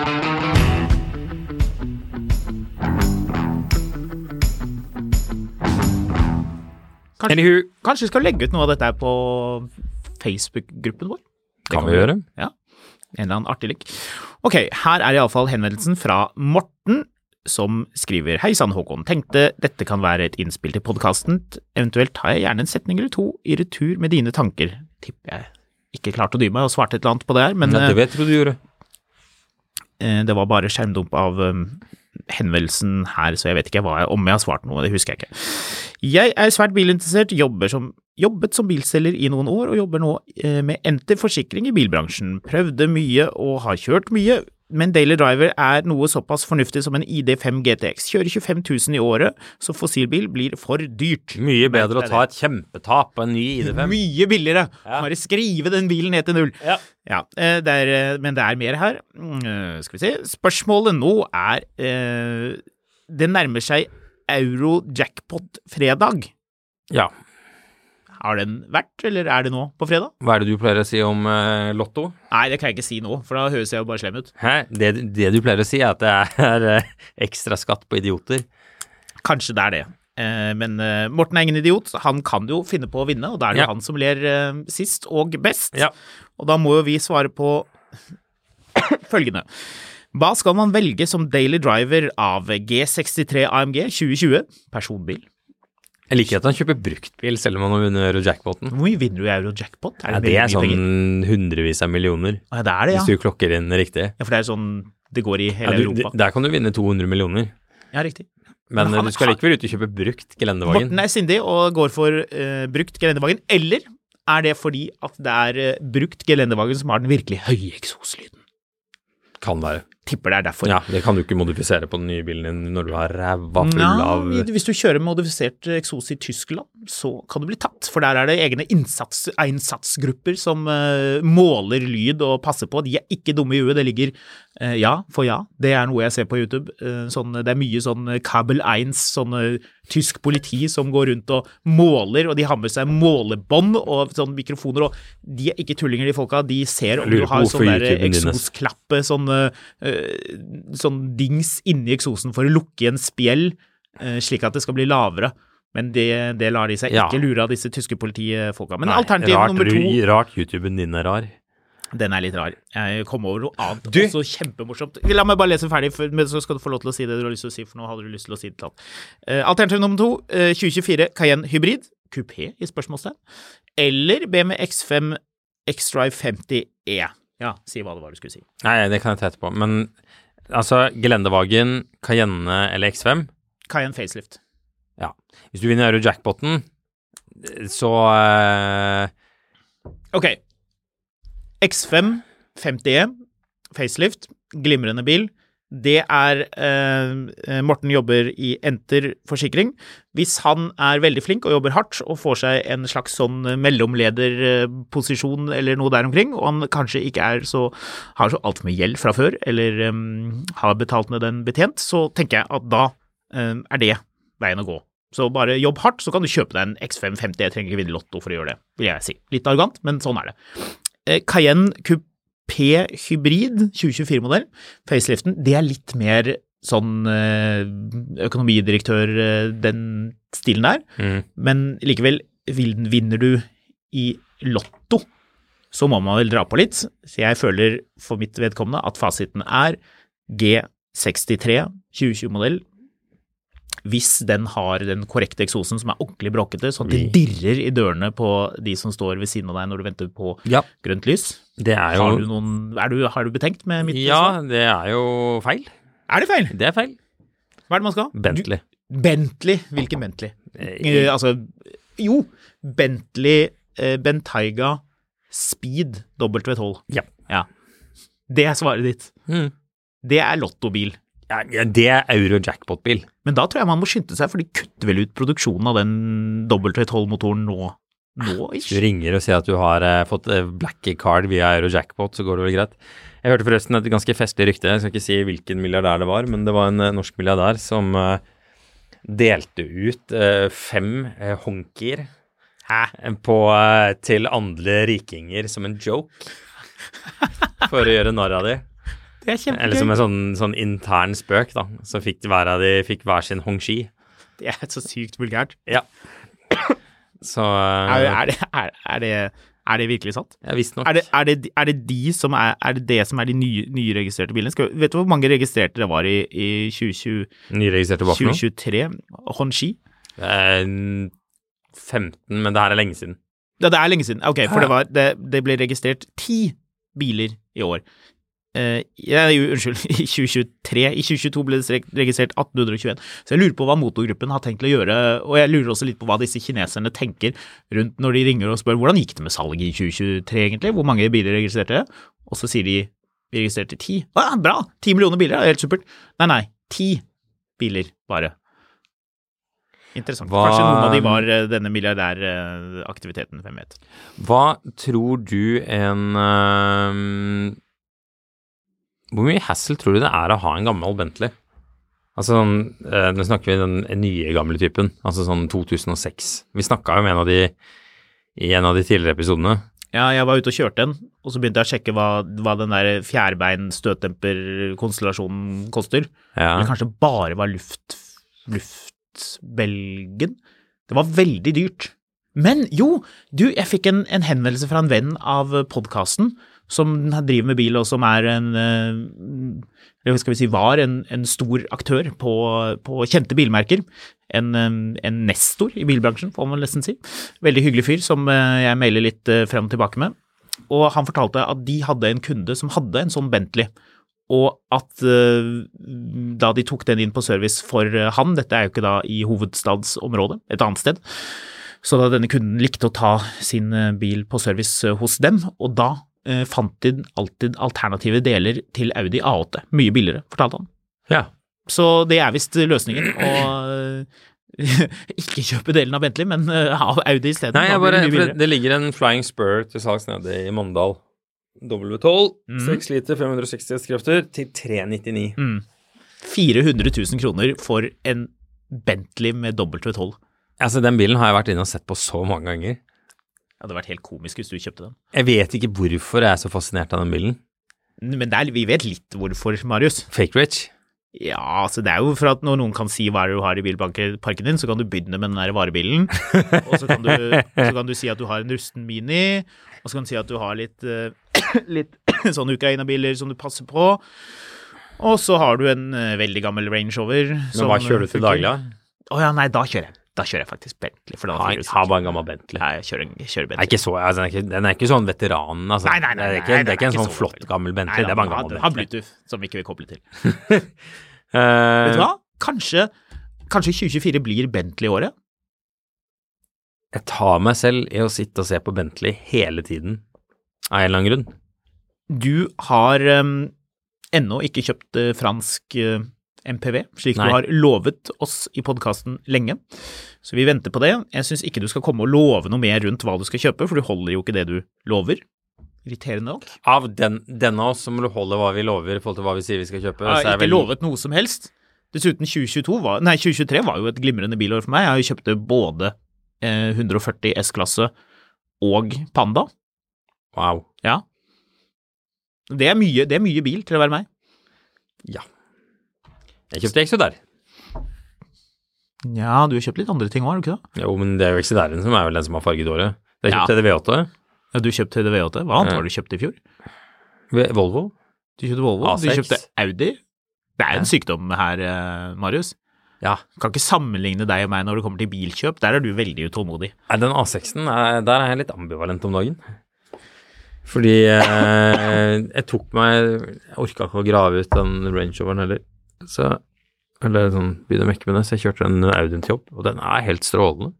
Speaker 4: Kanskje,
Speaker 3: anywho,
Speaker 4: kanskje vi skal legge ut noe av dette her på Facebook-gruppen vår? Det
Speaker 3: kan vi gjøre.
Speaker 4: Ja. En eller annen artig link. Ok, her er iallfall henvendelsen fra Morten, som skriver Hei sann, Håkon. Tenkte dette kan være et innspill til podkasten. Eventuelt tar jeg gjerne en setning eller to i retur med dine tanker. Tipper jeg ikke klarte å dy meg og svarte et eller annet på det her, men
Speaker 3: Ja,
Speaker 4: eh,
Speaker 3: det vet du du gjorde.
Speaker 4: Eh, Det var bare skjermdump av um, henvendelsen her, så jeg vet ikke hva jeg, om jeg har svart noe, det husker jeg ikke. Jeg er svært bilinteressert, jobber som, jobbet som bilselger i noen år, og jobber nå eh, med Enter forsikring i bilbransjen. Prøvde mye og har kjørt mye, men Daily Driver er noe såpass fornuftig som en ID5 GTX. Kjører 25 000 i året, så fossilbil blir for dyrt.
Speaker 3: Mye bedre å
Speaker 4: Merk deg
Speaker 3: ta et kjempetap på en ny ID5.
Speaker 4: Mye billigere! Bare skrive den bilen ned til null.
Speaker 3: Ja.
Speaker 4: Ja, eh, det er, eh, men det er mer her. Mm, eh, Skal vi se. Spørsmålet nå er eh, Det nærmer seg euro-jackpot-fredag.
Speaker 3: ja.
Speaker 4: Har den vært, eller er det nå på fredag?
Speaker 3: Hva er det du pleier å si om eh, Lotto?
Speaker 4: Nei, det kan jeg ikke si nå, for da høres jeg jo bare slem ut.
Speaker 3: Hæ? Det, det du pleier å si, er at det er eh, ekstra skatt på idioter.
Speaker 4: Kanskje det er det. Eh, Men eh, Morten er ingen idiot, han kan jo finne på å vinne, og da er det
Speaker 3: Ja.
Speaker 4: jo han som ler eh, sist og best.
Speaker 3: Ja.
Speaker 4: Og da må jo vi svare på *coughs* følgende. Hva skal man velge som daily driver av G63 AMG 2020, personbil?
Speaker 3: Jeg liker at han kjøper bruktbil selv om han har vunnet Eurojackpoten.
Speaker 4: Hvor mye vinner du i euro-jackpot?
Speaker 3: Ja, det
Speaker 4: veldig
Speaker 3: er
Speaker 4: mye penger?
Speaker 3: sånn hundrevis av millioner,
Speaker 4: Å, ja, det er det,
Speaker 3: hvis
Speaker 4: ja.
Speaker 3: du klokker inn riktig.
Speaker 4: ja. For det er sånn det går i
Speaker 3: Ja,
Speaker 4: hele
Speaker 3: du, d-
Speaker 4: Europa.
Speaker 3: der kan du vinne 200 millioner,
Speaker 4: Ja, riktig.
Speaker 3: men,
Speaker 4: Men han-
Speaker 3: eh, du skal likevel ut og kjøpe brukt
Speaker 4: Morten
Speaker 3: gelendevagen.
Speaker 4: er sindig og går for eh, brukt gelendevagen, eller er det fordi at det er eh, brukt gelendevagen som har den virkelig høye eksoslyden?
Speaker 3: Kan være.
Speaker 4: Tipper det er derfor.
Speaker 3: Ja, det kan du ikke modifisere på den nye bilen din når du har ræva full av eh,
Speaker 4: Nja, hvis du kjører modifisert eh, eksos i Tyskland, så kan du bli tatt. For der er det egne innsats, innsatsgrupper som eh, måler lyd og passer på. De er ikke dumme i huet. Det ligger eh, ja for ja. Det er noe jeg ser på YouTube. Eh, sånn, det er mye sånn eh, Kabel 1, sånn eh, tysk politi som går rundt og måler, og de har med seg målebånd og sånn mikrofoner, og de er ikke tullinger, de folka. De ser om
Speaker 3: Lurer
Speaker 4: du
Speaker 3: på
Speaker 4: har
Speaker 3: hvorfor
Speaker 4: sånn der eh,
Speaker 3: YouTuben din er-
Speaker 4: eksos klappe, sånn, eh, eh, sånn dings inni eksosen for å lukke igjen spjell, eh, slik at det skal bli lavere. Men det, det lar de seg
Speaker 3: Ja.
Speaker 4: ikke lure av disse tyske politifolka. Men
Speaker 3: Nei,
Speaker 4: alternativ
Speaker 3: rart,
Speaker 4: nummer
Speaker 3: ru-
Speaker 4: to
Speaker 3: Rart YouTuben din er rar.
Speaker 4: Den er litt rar. Jeg kom over noe annet
Speaker 3: Du-
Speaker 4: også kjempemorsomt. La meg bare lese ferdig, for, men så skal du få lov til å si det du har lyst til å si. For nå hadde du lyst til å si det til han. Eh, alternativ nummer to, eh, 2024 Cayenne hybrid, kupé i spørsmålstegn, eller BMW X5 X-Drive 50E. E. Ja, si hva det var du skulle si.
Speaker 3: Nei, det kan jeg ta etterpå. Men altså, Gelendevagen, Cayenne eller X5
Speaker 4: Cayenne facelift.
Speaker 3: Ja. Hvis du vinner Euro-jackpoten, så eh,
Speaker 4: Ok. X5 50E, facelift, glimrende bil. Det er eh, Morten jobber i Enter forsikring. Hvis han er veldig flink og jobber hardt og får seg en slags sånn mellomlederposisjon eller noe der omkring, og han kanskje ikke er så, har så altfor mye gjeld fra før eller eh, har betalt med den betjent, så tenker jeg at da eh, er det veien å gå. Så bare jobb hardt, så kan du kjøpe deg en X5 50. Jeg trenger ikke vinne Lotto for å gjøre det, vil jeg si. Litt arrogant, men sånn er det. Eh, Cayenne Coupé Hybrid 2024-modell, faceliften, det er litt mer sånn eh, økonomidirektør, eh, den stilen der. Men likevel, vil- vinner du i Lotto, så må man vel dra på litt. Så jeg føler for mitt vedkommende at fasiten er G63 2020-modell hvis den har den korrekte eksosen som er ordentlig bråkete, sånn at det dirrer i dørene på de som står ved siden av deg når du venter på
Speaker 3: Ja.
Speaker 4: grønt lys.
Speaker 3: Det er jo
Speaker 4: Har du, noen, er du, har du betenkt med mitt
Speaker 3: Ja,
Speaker 4: svar?
Speaker 3: det er jo feil.
Speaker 4: Er det feil?
Speaker 3: Det er feil.
Speaker 4: Hva er det man skal ha?
Speaker 3: Bentley.
Speaker 4: Du, Bentley. Hvilken Bentley?
Speaker 3: Eh,
Speaker 4: Eh, altså Jo, Bentley eh, Bentayga Speed W12.
Speaker 3: Ja.
Speaker 4: ja. Det er svaret ditt.
Speaker 3: Mm.
Speaker 4: Det er lottobil.
Speaker 3: Ja, ja, det er Euro-jackpot-bil.
Speaker 4: Men da tror jeg man må skynde seg, for de kutter vel ut produksjonen av den W12-motoren nå. Nå,
Speaker 3: Du
Speaker 4: ikke?
Speaker 3: ringer og sier at du har eh, fått eh, black card via Euro-jackpot, så går det vel greit. Jeg hørte forresten et ganske festlig rykte, jeg skal ikke si hvilken milliardær det var, men det var en eh, norsk milliardær som eh, delte ut eh, fem eh, honkier eh, på, eh, til andre rikinger som en joke. For å gjøre narr av de.
Speaker 4: Det er
Speaker 3: Eller som en sånn, sånn intern spøk, da. Så fikk hver av de fikk hver sin hongshi.
Speaker 4: Det er så sykt vulgært.
Speaker 3: Ja. Så
Speaker 4: Er,
Speaker 3: eh,
Speaker 4: er, det, er, er, det, er det virkelig sant?
Speaker 3: ja, visstnok.
Speaker 4: Er det, er det, er det de som er, er det, det som er de nye, nye registrerte bilene? Skal, vi- vet du hvor mange registrerte det var i, i 2020,
Speaker 3: Nyregistrerte bak nå?
Speaker 4: 2023? Honshi?
Speaker 3: Eh, 15, men det her er lenge siden.
Speaker 4: Ja, det er lenge siden. Ok, for det, var, det, det ble registrert ti biler i år. Eh, ja, jo, unnskyld, *laughs* i 2023. I 2022 ble det strek- registrert 1821. Så jeg lurer på hva motorgruppen har tenkt å gjøre, og jeg lurer også litt på hva disse kineserne tenker rundt når de ringer og spør hvordan gikk det med salget i 2023 egentlig, hvor mange biler registrerte, og så sier de vi registrerte ti. Å ja, bra! Ti millioner biler, det er helt supert. Nei, nei, ti biler bare. Interessant.
Speaker 3: Hva-
Speaker 4: Kanskje noen av de var eh, denne milliardæraktiviteten, hvem vet.
Speaker 3: Hva tror du en eh, Hvor mye hassle tror du det er å ha en gammel Bentley? Altså sånn, eh, Nå snakker vi den nye gamle typen, altså sånn 2006. Vi snakka jo med en av de i en av de tidligere episodene.
Speaker 4: Ja, jeg var ute og kjørte en, og så begynte jeg å sjekke hva, hva den der fjærbein-støtdemper-konstellasjonen koster.
Speaker 3: Ja.
Speaker 4: Eller kanskje bare var luft, luftbelgen. Det var veldig dyrt. Men jo, du, jeg fikk en, en henvendelse fra en venn av podkasten som driver med bil, og som er en eh, Eller hva skal vi si, var en, en stor aktør på, på kjente bilmerker. En, eh, en nestor i bilbransjen, får man nesten si. Veldig hyggelig fyr som eh, jeg mailer litt eh, frem og tilbake med. Og han fortalte at de hadde en kunde som hadde en sånn Bentley. Og at eh, da de tok den inn på service for eh, han, dette er jo ikke da i hovedstadsområdet, et annet sted, så da denne kunden likte å ta sin eh, bil på service eh, hos dem, og da eh, fant de alltid alternative deler til Audi A8, mye billigere, fortalte han.
Speaker 3: ja.
Speaker 4: Så det er visst løsningen å eh, *laughs* ikke kjøpe delen av Bentley, men eh, ha Audi isteden.
Speaker 3: Nei,
Speaker 4: da
Speaker 3: jeg
Speaker 4: blir
Speaker 3: bare,
Speaker 4: det mye
Speaker 3: for
Speaker 4: billigere.
Speaker 3: det, det ligger en Flying Spur til salgs nede i Mandal. W12,
Speaker 4: Mhm.
Speaker 3: 6 liter, 560 hestekrefter, til 399.
Speaker 4: 400 000 kroner for en Bentley med W12.
Speaker 3: Altså, Den bilen har jeg vært inne og sett på så mange ganger.
Speaker 4: Det hadde vært helt komisk hvis du kjøpte den.
Speaker 3: Jeg vet ikke hvorfor jeg er så fascinert av den bilen.
Speaker 4: Men det er, vi vet litt hvorfor, Marius.
Speaker 3: Fake rich.
Speaker 4: Ja, altså det er jo for at når noen kan si hva er det du har i bilparken din, så kan du begynne med den der varebilen. Og så kan du, så kan du si at du har en rusten Mini, og så kan du si at du har litt eh, litt *coughs* sånne Ukraina-biler som du passer på. Og så har du en eh, veldig gammel Range Rover.
Speaker 3: Men hva kjører du til daglig, da?
Speaker 4: Å ja, nei, da kjører jeg. Da kjører jeg faktisk Bentley. For da
Speaker 3: Ha,
Speaker 4: fyrer du
Speaker 3: ha
Speaker 4: sikkert.
Speaker 3: bare en gammel Bentley.
Speaker 4: Nei, jeg kjører, en- jeg kjører
Speaker 3: Den er
Speaker 4: Bentley.
Speaker 3: ikke så, altså, den, er ikke, den er ikke sånn veteranen, altså.
Speaker 4: Nei, nei, nei,
Speaker 3: det er
Speaker 4: nei,
Speaker 3: ikke, det
Speaker 4: den
Speaker 3: er ikke en
Speaker 4: ikke
Speaker 3: sånn
Speaker 4: så
Speaker 3: flott,
Speaker 4: veldig.
Speaker 3: gammel Bentley.
Speaker 4: Nei,
Speaker 3: det er bare en
Speaker 4: den har-
Speaker 3: gammel
Speaker 4: den har
Speaker 3: Bentley.
Speaker 4: Bluetooth, som vi ikke vil koble til.
Speaker 3: Eh,
Speaker 4: Vet du hva? Kanskje, kanskje 2024 blir Bentley-året?
Speaker 3: Eh, Jeg tar meg selv i å sitte og se på Bentley hele tiden, av en eller annen grunn.
Speaker 4: Du har em, ennå ikke kjøpt eh, fransk eh, MPV, slik
Speaker 3: Nei.
Speaker 4: du har lovet oss i podkasten lenge. Så vi venter på det. Jeg syns ikke du skal komme og love noe mer rundt hva du skal kjøpe, for du holder jo ikke det du lover. Irriterende nok.
Speaker 3: Av den, denne av oss som holder hva vi lover i forhold til hva vi sier vi skal kjøpe,
Speaker 4: Jeg
Speaker 3: så
Speaker 4: har
Speaker 3: er
Speaker 4: ikke
Speaker 3: vel
Speaker 4: lovet noe som helst. Dessuten 2022 var, nei, 2023 var jo et glimrende bilår for meg. Jeg har jo kjøpte både eh, 140 S-klasse og Panda.
Speaker 3: Wow.
Speaker 4: Ja. Det er, mye, det er mye bil til å være meg.
Speaker 3: Ja. Jeg kjøpte Exodair.
Speaker 4: Ja, du har kjøpt litt andre ting òg, har du ikke det?
Speaker 3: Jo, men det er jo Exodairen som er vel den som har farget året. Jeg kjøpte V8.
Speaker 4: Ja, Du kjøpte V8. Hva annet
Speaker 3: Ja.
Speaker 4: var det du kjøpte i fjor?
Speaker 3: V- Volvo.
Speaker 4: Du kjøpte Volvo, du
Speaker 3: A6.
Speaker 4: kjøpte Audi. Det er en sykdom her, eh, Marius.
Speaker 3: Ja.
Speaker 4: Kan ikke sammenligne deg og meg når det kommer til bilkjøp. Der er du veldig utålmodig.
Speaker 3: Nei, Den A6-en, er- der er jeg litt ambivalent om dagen. Fordi eh, jeg tok meg Jeg orka ikke å grave ut den Range Roveren heller. Så Eller sånn begynne å mekke med det, så jeg kjørte den Audien til jobb, og den er helt strålende.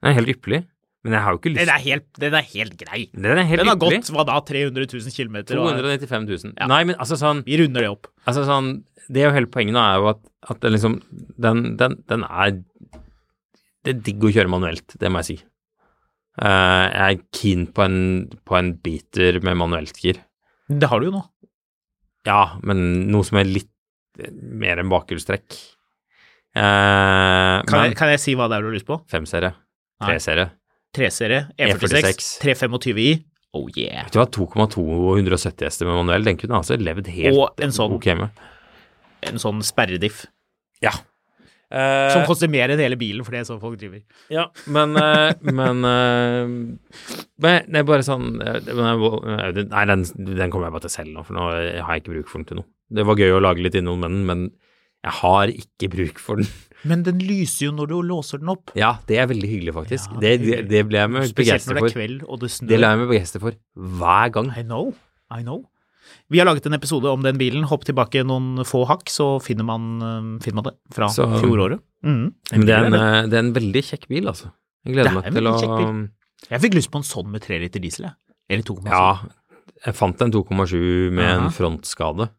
Speaker 3: Den er helt ypperlig. Men jeg har jo ikke lyst
Speaker 4: Den er helt, den er helt grei.
Speaker 3: Den er helt
Speaker 4: Den har
Speaker 3: ypperlig.
Speaker 4: gått hva da, 300 000 km?
Speaker 3: 295 000. Nei, men altså sånn
Speaker 4: Vi runder det opp.
Speaker 3: Altså sånn, Det er jo hele poenget nå, er jo at, at det liksom den, den, den er Det er digg å kjøre manuelt, det må jeg si. Eh, jeg er keen på en, på en beater med manuelt gir.
Speaker 4: Det har du jo nå.
Speaker 3: Ja, men noe som er litt mer enn bakhjulstrekk. Uh,
Speaker 4: Kan, jeg,
Speaker 3: men
Speaker 4: kan jeg si hva det er du har lyst på?
Speaker 3: femserie,
Speaker 4: Nei.
Speaker 3: treserie
Speaker 4: 3-serie, E46,
Speaker 3: E46.
Speaker 4: 325i. Oh yeah.
Speaker 3: Vet du hva, 2,2 og 170 hester med manuell, den kunne altså levd helt
Speaker 4: Og en sånn,
Speaker 3: ok med.
Speaker 4: en sånn sperrediff.
Speaker 3: Ja. Eh,
Speaker 4: Som koster mer enn hele bilen, for det er sånn folk driver.
Speaker 3: Ja, men eh, Men eh, men det er bare sånn eh, det- men jeg- Nei, den, den kommer jeg bare til selv nå, for nå eh, har jeg ikke bruk for den til noe. Det var gøy å lage litt innhold med den, men jeg har ikke bruk for den. *laughs*
Speaker 4: Men den lyser jo når du låser den opp.
Speaker 3: Ja, det er veldig hyggelig, faktisk.
Speaker 4: Ja,
Speaker 3: det,
Speaker 4: det er
Speaker 3: det,
Speaker 4: hyggelig.
Speaker 3: det ble jeg meg
Speaker 4: Spesielt
Speaker 3: begeistret
Speaker 4: når det er
Speaker 3: for.
Speaker 4: kveld og det snør.
Speaker 3: Det la jeg meg begeistre for hver gang.
Speaker 4: I know. I know. Vi har laget en episode om den bilen. Hopp tilbake noen få hakk, så finner man, eh, finner man det fra
Speaker 3: Så-
Speaker 4: fjoråret. Mhm.
Speaker 3: Men det er en,
Speaker 4: bil er
Speaker 3: eh, det er en veldig kjekk bil, altså. Jeg gleder
Speaker 4: Det er
Speaker 3: meg
Speaker 4: en
Speaker 3: til å
Speaker 4: veldig kjekk Jeg fikk lyst på en sånn med 3 liter diesel, jeg. Eller 2,7.
Speaker 3: eh, Ja, jeg fant en 2,7 med
Speaker 4: Aha.
Speaker 3: en frontskade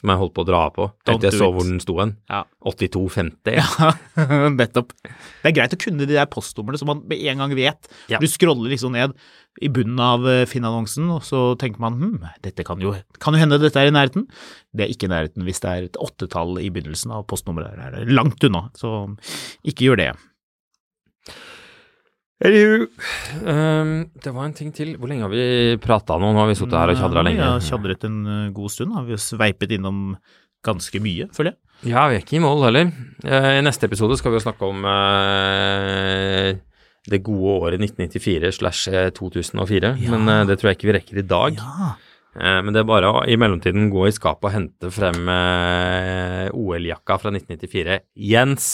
Speaker 3: som jeg holdt på å dra av på.
Speaker 4: Don't
Speaker 3: Etter jeg
Speaker 4: do
Speaker 3: så
Speaker 4: it.
Speaker 3: hvor den sto hen.
Speaker 4: Ja.
Speaker 3: 82,50.
Speaker 4: *laughs* Nettopp. Det er greit å kunne de der postnumrene som man med en gang vet.
Speaker 3: Ja.
Speaker 4: Du scroller liksom ned i bunnen av eh, Finn-annonsen, og så tenker man hm, dette kan jo, kan jo hende dette er i nærheten. Det er ikke i nærheten hvis det er et åttetall i begynnelsen av postnummeret. Det er langt unna, så ikke gjør det.
Speaker 3: Anywho. Ehm, det var en ting til. Hvor lenge har vi prata nå? Nå har vi sittet her og tjadra lenge.
Speaker 4: Vi har tjadret en eh, god stund, har vi jo sveipet innom ganske mye, føler jeg.
Speaker 3: Ja, vi er ikke i mål heller. Eh, I neste episode skal vi jo snakke om eh, det gode året 1994 slash eh, 2004. Men eh, det tror jeg ikke vi rekker i dag.
Speaker 4: Ja.
Speaker 3: Eh, men det er bare å i mellomtiden gå i skapet og hente frem eh, OL-jakka fra 1994. Jens.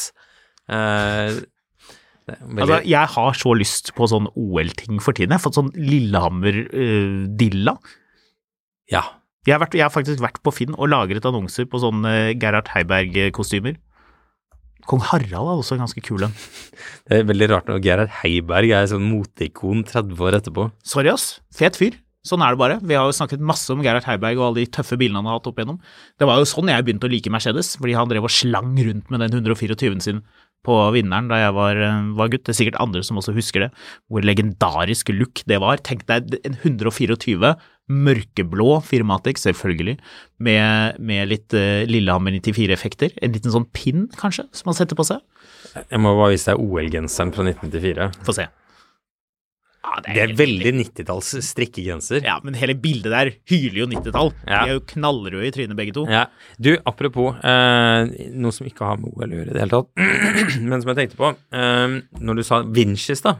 Speaker 3: Eh, det er veldig-
Speaker 4: Altså, jeg har så lyst på sånn OL-ting for tiden. Jeg har fått sånn eh, Lillehammer-dilla.
Speaker 3: ja.
Speaker 4: Jeg har, vært, jeg har faktisk vært på Finn og lagret annonser på sånne Gerhard Heiberg-kostymer. Kong Harald er også en ganske kul en.
Speaker 3: Det er veldig rart når Gerhard Heiberg er sånn moteikon 30 år etterpå.
Speaker 4: Sorry, ass. Fet fyr. Sånn er det bare. Vi har jo snakket masse om Gerhard Heiberg og alle de tøffe bilene han har hatt opp igjennom. Det var jo sånn jeg begynte å like Mercedes, fordi han drev og slang rundt med den 124-en sin på vinneren da jeg var, eh, var gutt. Det er sikkert andre som også husker det, hvor legendarisk look det var. Tenk deg en 124 mørkeblå firmatik, selvfølgelig, med, med litt eh, Lillehammer 94-effekter. En liten sånn pin, kanskje, som han setter på seg.
Speaker 3: Jeg må bare vise deg OL-genseren fra 1994.
Speaker 4: Få se. Ja,
Speaker 3: Det er veldig 90-talls strikkegenser.
Speaker 4: Ja, men hele bildet der hyler jo 90-tall.
Speaker 3: Ja.
Speaker 4: De er jo knallrøde i trynet begge to.
Speaker 3: Ja. Du, apropos eh, noe som ikke har med *clears throat* OL å gjøre i det hele tatt, men som jeg tenkte på. Eh, når du sa Vinches, da,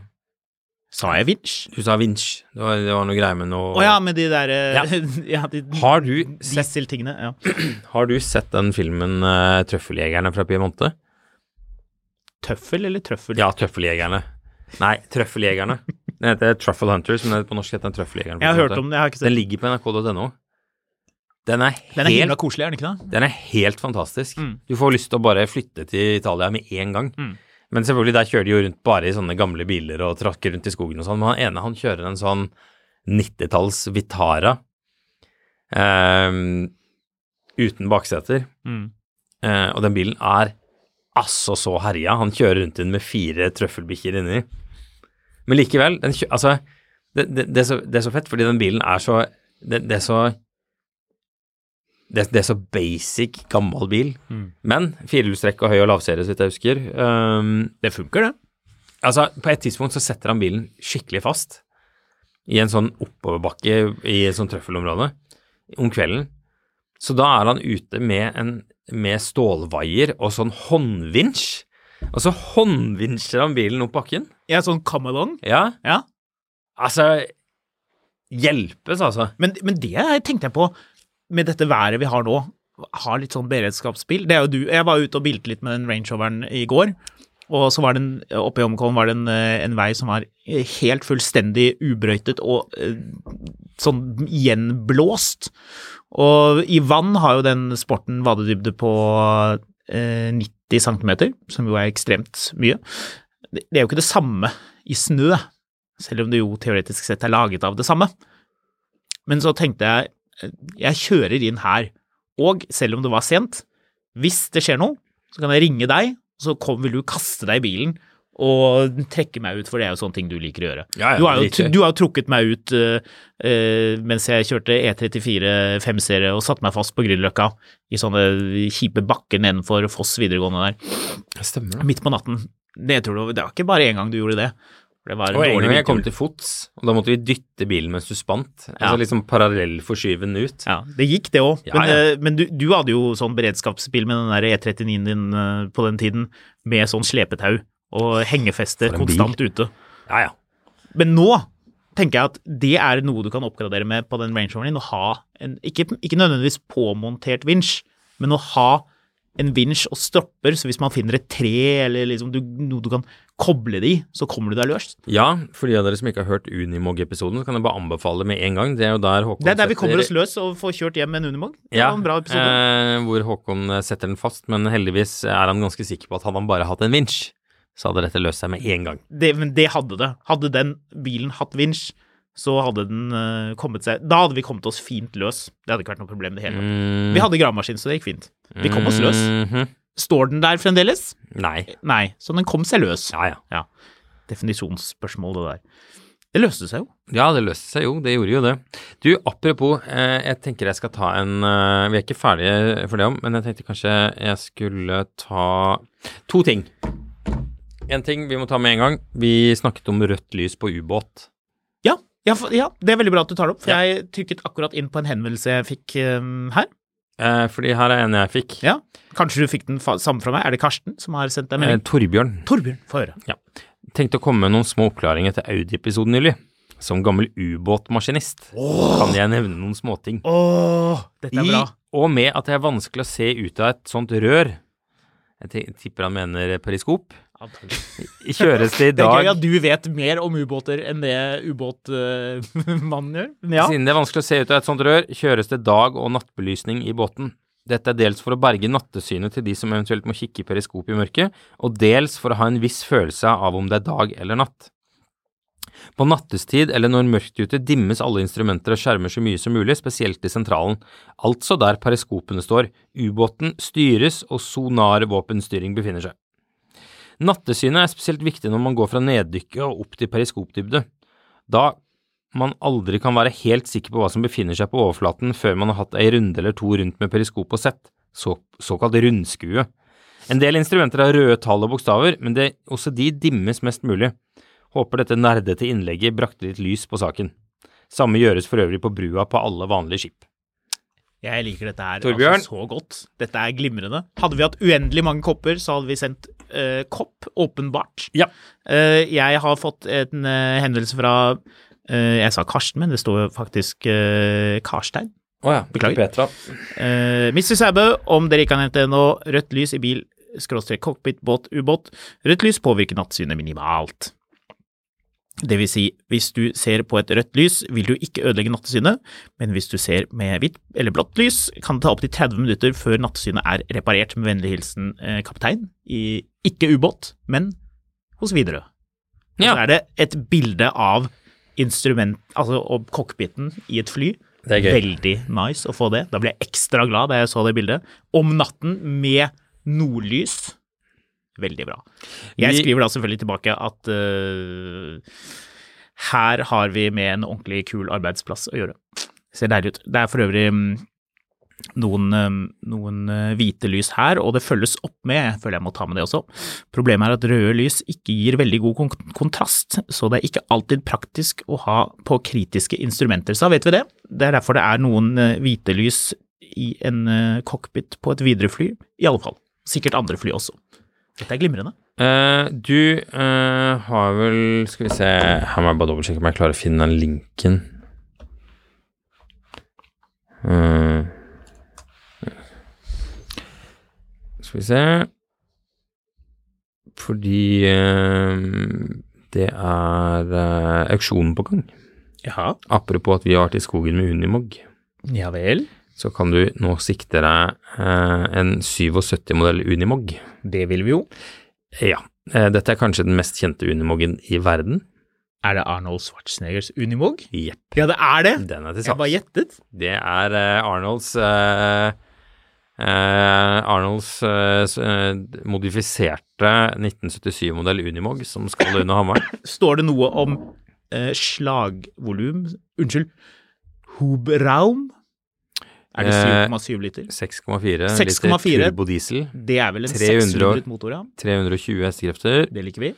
Speaker 4: Sa jeg vinsj?
Speaker 3: Du sa vinsj. Det var, det var noe greier med noe
Speaker 4: Å ja, med de derre *laughs* ja. de
Speaker 3: Har du sett,
Speaker 4: dieseltingene. Ja.
Speaker 3: har du sett den filmen eh, 'Trøffeljegerne' fra Piemonte?
Speaker 4: Tøffel eller trøffel?
Speaker 3: Ja, 'Trøffeljegerne'. Nei, 'Trøffeljegerne'. Den heter 'Truffle Hunters', men på norsk heter den 'Trøffeljegerne'. på
Speaker 4: Jeg har hørt
Speaker 3: Piemonte.
Speaker 4: om den, jeg har ikke sett
Speaker 3: Den
Speaker 4: den.
Speaker 3: ligger på nrk.no. Den er
Speaker 4: Den er himla
Speaker 3: helt,
Speaker 4: koselig, er den ikke det?
Speaker 3: den er helt fantastisk.
Speaker 4: Mm.
Speaker 3: Du får lyst til å bare flytte til Italia med en gang.
Speaker 4: Mm.
Speaker 3: Men selvfølgelig, der kjører de jo rundt bare i sånne gamle biler og trakker rundt i skogen og sånn. Men han ene, han kjører en sånn 90-talls Vitara ehm, uten bakseter.
Speaker 4: Mm.
Speaker 3: Eh, og den bilen er altså så herja. Han kjører rundt i den med fire trøffelbikkjer inni. Men likevel, den kjø altså det, det, det, er så, det er så fett, fordi den bilen er så Det, det er så det, det er så basic, gammel bil. Men firehjulstrekk og høy- og lavserie, så vidt jeg husker. Ehm,
Speaker 4: Det funker, det.
Speaker 3: altså, på et tidspunkt så setter han bilen skikkelig fast i en sånn oppoverbakke i et sånt trøffelområde om kvelden. Så da er han ute med, en, med stålvaier og sånn håndvinsj. Og så håndvinsjer han bilen opp bakken.
Speaker 4: Ja, sånn come-along.
Speaker 3: Ja,
Speaker 4: Ja.
Speaker 3: altså Hjelpes, altså.
Speaker 4: Men, men det her tenkte jeg på med dette været vi har nå, har litt sånn beredskapsbil. Det er jo du. Jeg var ute og bilte litt med den Range Roveren i går. Og så var det en, oppe i Omkollen var det en, eh, en vei som var eh, helt fullstendig ubrøytet og eh, sånn gjenblåst. Og i vann har jo den sporten vadedybde på eh, 90 cm, som jo er ekstremt mye. Det det er jo ikke det samme i snø, selv om det jo teoretisk sett er laget av det samme. Men så tenkte jeg eh, jeg kjører inn her, og selv om det var sent, hvis det skjer noe, så kan jeg ringe deg, så kom, vil du kaste deg i bilen og trekke meg ut, for det er jo sånne ting du liker å gjøre.
Speaker 3: Ja, ja,
Speaker 4: du, har jo,
Speaker 3: dritgøy.
Speaker 4: du har jo trukket meg ut eh, eh, mens jeg kjørte E34 5-serie og satte meg fast på Grünerløkka i sånne kjipe bakker nedenfor Foss videregående der,
Speaker 3: Stemmer
Speaker 4: midt på natten. Det tror du, det var ikke bare én gang du gjorde det. For Det var en
Speaker 3: Og en
Speaker 4: dårlig
Speaker 3: gang jeg kom
Speaker 4: vintertur.
Speaker 3: til fots, og da måtte vi dytte bilen mens du spant.
Speaker 4: Ja.
Speaker 3: Altså liksom parallellforskyve den ut.
Speaker 4: Ja, det gikk det òg.
Speaker 3: Ja,
Speaker 4: men
Speaker 3: ja.
Speaker 4: eh, men du, du hadde jo sånn beredskapsbil med den der E39-en din eh, på den tiden, med sånn slepetau og hengefeste
Speaker 3: For en bil.
Speaker 4: konstant ute.
Speaker 3: Ja, ja.
Speaker 4: Men nå tenker jeg at det er noe du kan oppgradere med på den Range Roveren din, å ha en ikke, ikke nødvendigvis påmontert vinsj, men å ha en vinsj og stropper, så hvis man finner et tre eller liksom du, noe du kan koble det i, så kommer du deg løs.
Speaker 3: Ja, for de av dere som ikke har hørt Unimog-episoden, så kan jeg bare anbefale det med en gang. Det er jo der Håkon
Speaker 4: Det er der vi kommer oss
Speaker 3: setter-
Speaker 4: løs og får kjørt hjem med en Unimog. Det
Speaker 3: Ja,
Speaker 4: var en bra episode.
Speaker 3: eh, hvor Håkon eh, setter den fast, men heldigvis er han ganske sikker på at hadde han bare hatt en vinsj, så hadde dette løst seg med en gang.
Speaker 4: det, men det hadde det. Hadde den bilen hatt vinsj, så hadde den eh, kommet seg Da hadde vi kommet oss fint løs. Det hadde ikke vært noe problem i det hele tatt.
Speaker 3: Mm.
Speaker 4: Vi hadde gravemaskin, så det gikk fint. Vi kom oss løs.
Speaker 3: Mhm.
Speaker 4: Står den der fremdeles?
Speaker 3: Nei.
Speaker 4: Nei, så den kom seg løs.
Speaker 3: Ja, ja.
Speaker 4: Ja. Definisjonsspørsmål, det der. Det løste seg jo.
Speaker 3: Ja, det løste seg jo. Det gjorde jo det. Du, apropos, eh, jeg tenker jeg skal ta en eh, Vi er ikke ferdige for det om, men jeg tenkte kanskje jeg skulle ta to ting. En ting vi må ta med en gang. Vi snakket om rødt lys på ubåt.
Speaker 4: Ja, ja, for- ja, det er veldig bra at du tar det opp, for jeg trykket akkurat inn på en henvendelse jeg fikk eh, her.
Speaker 3: Eh, fordi her er en jeg fikk.
Speaker 4: Ja. Kanskje du fikk den fa samme fra meg? Er det Karsten som har sendt
Speaker 3: Eh,
Speaker 4: deg melding?
Speaker 3: Torbjørn.
Speaker 4: Torbjørn, få høre.
Speaker 3: Tenkte å komme med noen små oppklaringer til Audi-episoden nylig. Som gammel ubåtmaskinist kan jeg nevne noen småting.
Speaker 4: Åh, dette er
Speaker 3: I
Speaker 4: bra.
Speaker 3: og med at det er vanskelig å se ut av et sånt rør, jeg ti- tipper han mener periskop, kjøres det i
Speaker 4: *laughs* Det er gøy
Speaker 3: dag
Speaker 4: at du vet mer om ubåter enn det *laughs* ubåtmannen gjør. Men ja.
Speaker 3: Siden det er vanskelig å se ut av et sånt rør, kjøres det dag- og nattbelysning i båten. Dette er dels for å berge nattesynet til de som eventuelt må kikke i periskop i mørket, og dels for å ha en viss følelse av om det er dag eller natt. På nattestid eller når mørkt ute dimmes alle instrumenter og skjermer så mye som mulig, spesielt i sentralen, altså der periskopene står. Ubåten styres og sonarvåpenstyring befinner seg. Nattesynet er spesielt viktig når man går fra neddykket og opp til periskopdybde. Da man aldri kan være helt sikker på hva som befinner seg på overflaten før man har hatt ei runde eller to rundt med periskop og sett, så, såkalt rundskue. En del instrumenter har røde tall og bokstaver, men det, også de dimmes mest mulig. Håper dette nerdete innlegget brakte litt lys på saken. Samme gjøres for øvrig på brua på alle vanlige skip.
Speaker 4: Jeg liker dette her
Speaker 3: Torbjørn?
Speaker 4: altså så godt. Dette er glimrende. Hadde vi hatt uendelig mange kopper, så hadde vi sendt eh, kopp, åpenbart.
Speaker 3: Ja.
Speaker 4: Eh, jeg har fått en eh, henvendelse fra eh, Jeg sa Karsten, men det står jo faktisk eh, Karstein.
Speaker 3: Å ja.
Speaker 4: Beklager.
Speaker 3: Petra.
Speaker 4: Uh, Mr. Sæbø, om dere ikke har nevnt det ennå, rødt lys i bil, skråstrek cockpit, båt, ubåt. Rødt lys påvirker nattsynet minimalt. Det vil si, hvis du ser på et rødt lys, vil du ikke ødelegge nattesynet, men hvis du ser med hvitt eller blått lys, kan det ta opptil 30 minutter før nattesynet er reparert. Med vennlig hilsen eh, kaptein, i ikke ubåt, men hos Widerøe. Og
Speaker 3: Ja.
Speaker 4: Så er det et bilde av instrument, altså og cockpiten i et fly.
Speaker 3: Det er gøy.
Speaker 4: Veldig nice å få det. Da ble jeg ekstra glad da jeg så det bildet. Om natten med nordlys. Veldig bra. Jeg
Speaker 3: Vi-
Speaker 4: skriver da selvfølgelig tilbake at eh, her har vi med en ordentlig kul arbeidsplass å gjøre. Ser deilig ut. Det er for øvrig mm, noen, eh, noen eh, hvite lys her, og det følges opp med, jeg føler jeg må ta med det også. Problemet er at røde lys ikke gir veldig god kon kontrast, så det er ikke alltid praktisk å ha på kritiske instrumenter. Så da vet vi det. Det er derfor det er noen eh, hvite lys i en eh, cockpit på et Widerøe-fly, i alle fall. Sikkert andre fly også. Dette er glimrende.
Speaker 3: Eh, du eh, har vel Skal vi se Her må jeg bare dobbeltsjekke om jeg klarer å finne den linken. Eh, skal vi se Fordi eh, det er eh, auksjonen på gang.
Speaker 4: Ja,
Speaker 3: Apropos at vi har vært i skogen med Unimog,
Speaker 4: ja vel.
Speaker 3: så kan du nå sikte deg eh, en 77-modell Unimog.
Speaker 4: Det vil vi jo.
Speaker 3: Ja. eh, Dette er kanskje den mest kjente Unimogen i verden.
Speaker 4: Er det Arnold Schwarzeneggers Unimog?
Speaker 3: Jepp.
Speaker 4: Ja, det er det!
Speaker 3: Den er til
Speaker 4: Jeg bare
Speaker 3: salgs.
Speaker 4: gjettet.
Speaker 3: Det er eh, Arnolds eh, eh, Arnolds eh, s- eh, modifiserte 1977-modell Unimog som skal under
Speaker 4: *laughs*
Speaker 3: hammeren.
Speaker 4: Står det noe om eh, slagvolum Unnskyld, Hubraum? Er det
Speaker 3: Eh,
Speaker 4: 7,7 liter?
Speaker 3: 6,4 liter
Speaker 4: 6,4.
Speaker 3: turbodiesel.
Speaker 4: Det er vel en
Speaker 3: 300 og-
Speaker 4: 600 motor, ja.
Speaker 3: 320 hestekrefter.
Speaker 4: Det liker vi.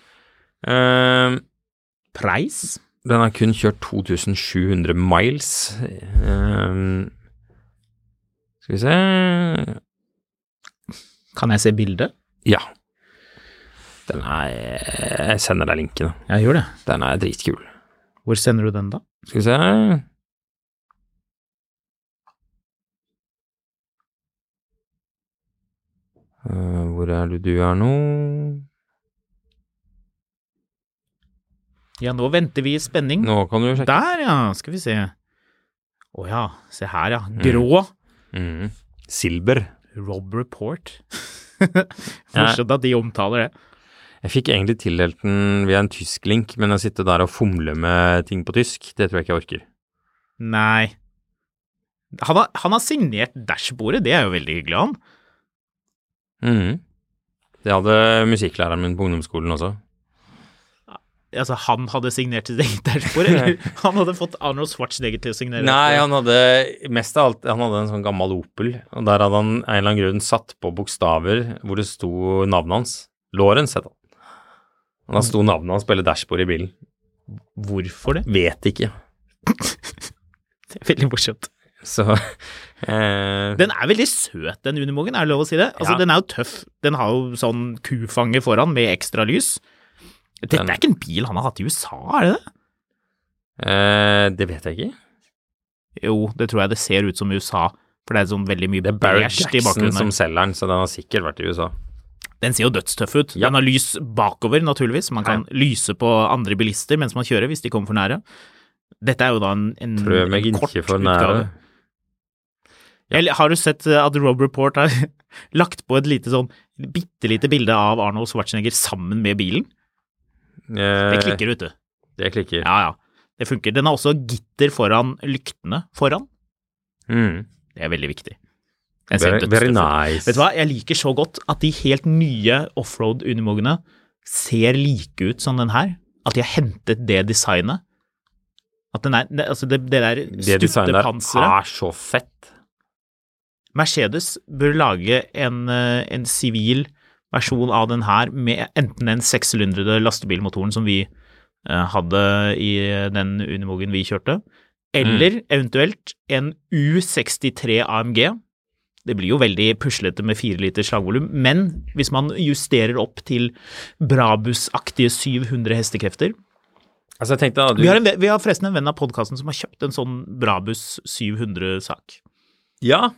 Speaker 3: Eh,
Speaker 4: Preis?
Speaker 3: den har kun kjørt 2700 miles. Eh, skal vi se
Speaker 4: Kan jeg se bildet?
Speaker 3: Ja. Den er Jeg sender deg linken. da.
Speaker 4: Jeg gjør det.
Speaker 3: Den er dritkul.
Speaker 4: Hvor sender du den, da?
Speaker 3: Skal vi se Eh, Hvor er du du er nå?
Speaker 4: Ja, nå venter vi i spenning.
Speaker 3: Nå kan du sjekke.
Speaker 4: Der, ja. Skal vi se. Å ja. Se her, ja. Grå.
Speaker 3: Mm. Silber.
Speaker 4: Rob Report. *laughs* Fortsatt at de omtaler det.
Speaker 3: Jeg fikk egentlig tildelt den via en tysk link, men å sitte der og fomle med ting på tysk, det tror jeg ikke jeg orker.
Speaker 4: Nei. Han har, han har signert dashbordet, det er jo veldig hyggelig av han.
Speaker 3: Mm. Det hadde musikklæreren min på ungdomsskolen også.
Speaker 4: Altså, han hadde signert sitt eget
Speaker 3: *laughs*
Speaker 4: dashbord, eller han hadde fått Arnold Schwarzenegger til å signere?
Speaker 3: Nei,
Speaker 4: dashbordet.
Speaker 3: han hadde mest av alt Han hadde en sånn gammel Opel, og der hadde han en eller annen grunn satt på bokstaver hvor det sto navnet hans. Lawrence het han. Og da sto navnet hans på hele dashbordet i bilen.
Speaker 4: Hvorfor det?
Speaker 3: Vet ikke.
Speaker 4: Det er veldig morsomt.
Speaker 3: Så *laughs* eh,
Speaker 4: Den er veldig søt, den Unimogen, er det lov å si det? Altså,
Speaker 3: Ja.
Speaker 4: Den er jo tøff. Den har jo sånn kufanger foran med ekstra lys. Dette
Speaker 3: Den-
Speaker 4: er ikke en bil han har hatt i USA, er det det?
Speaker 3: eh, Det vet jeg ikke.
Speaker 4: Jo, det tror jeg det ser ut som USA, for det er sånn veldig mye
Speaker 3: Det er Barry
Speaker 4: beige i
Speaker 3: Jackson
Speaker 4: bakgrunnen.
Speaker 3: som
Speaker 4: her.
Speaker 3: selger den, så den har sikkert vært i USA.
Speaker 4: Den ser jo dødstøff ut.
Speaker 3: Ja.
Speaker 4: Den har lys bakover, naturligvis. Man kan lyse på andre bilister mens man kjører, hvis de kommer for nære. Dette er jo da en, en,
Speaker 3: Prøv meg
Speaker 4: en Mm, kort
Speaker 3: ikke for
Speaker 4: utgave.
Speaker 3: nære.
Speaker 4: Eller har du sett eh, at Rob Report har *laughs* lagt på et lite sånn bitte lite bilde av Arnold Schwarzenegger sammen med bilen?
Speaker 3: Eh,
Speaker 4: Det klikker, vet du.
Speaker 3: Det klikker.
Speaker 4: Ja, ja. Det funker. Den har også gitter foran lyktene foran.
Speaker 3: Mm.
Speaker 4: Det er veldig viktig. Den ser
Speaker 3: Very, very
Speaker 4: dødstøff ut.
Speaker 3: nice.
Speaker 4: Vet du hva, jeg liker så godt at de helt nye offroad Unimogene ser like ut som den her. At de har hentet det designet. At den er, det, altså det, det der
Speaker 3: Det designet der
Speaker 4: stuttepanseret.
Speaker 3: er så fett.
Speaker 4: Mercedes bør lage en, eh, en sivil versjon av den her med enten den sekssylindrede lastebilmotoren som vi eh, hadde i den Unimogen vi kjørte, Eller eventuelt en U63 AMG. Det blir jo veldig puslete med fire liter slagvolum, men hvis man justerer opp til Brabus-aktige 700 hestekrefter
Speaker 3: Altså, jeg tenkte da, du,
Speaker 4: vi har, en, ve- vi har forresten en venn av podkasten som har kjøpt en sånn Brabus 700-sak.
Speaker 3: Ja.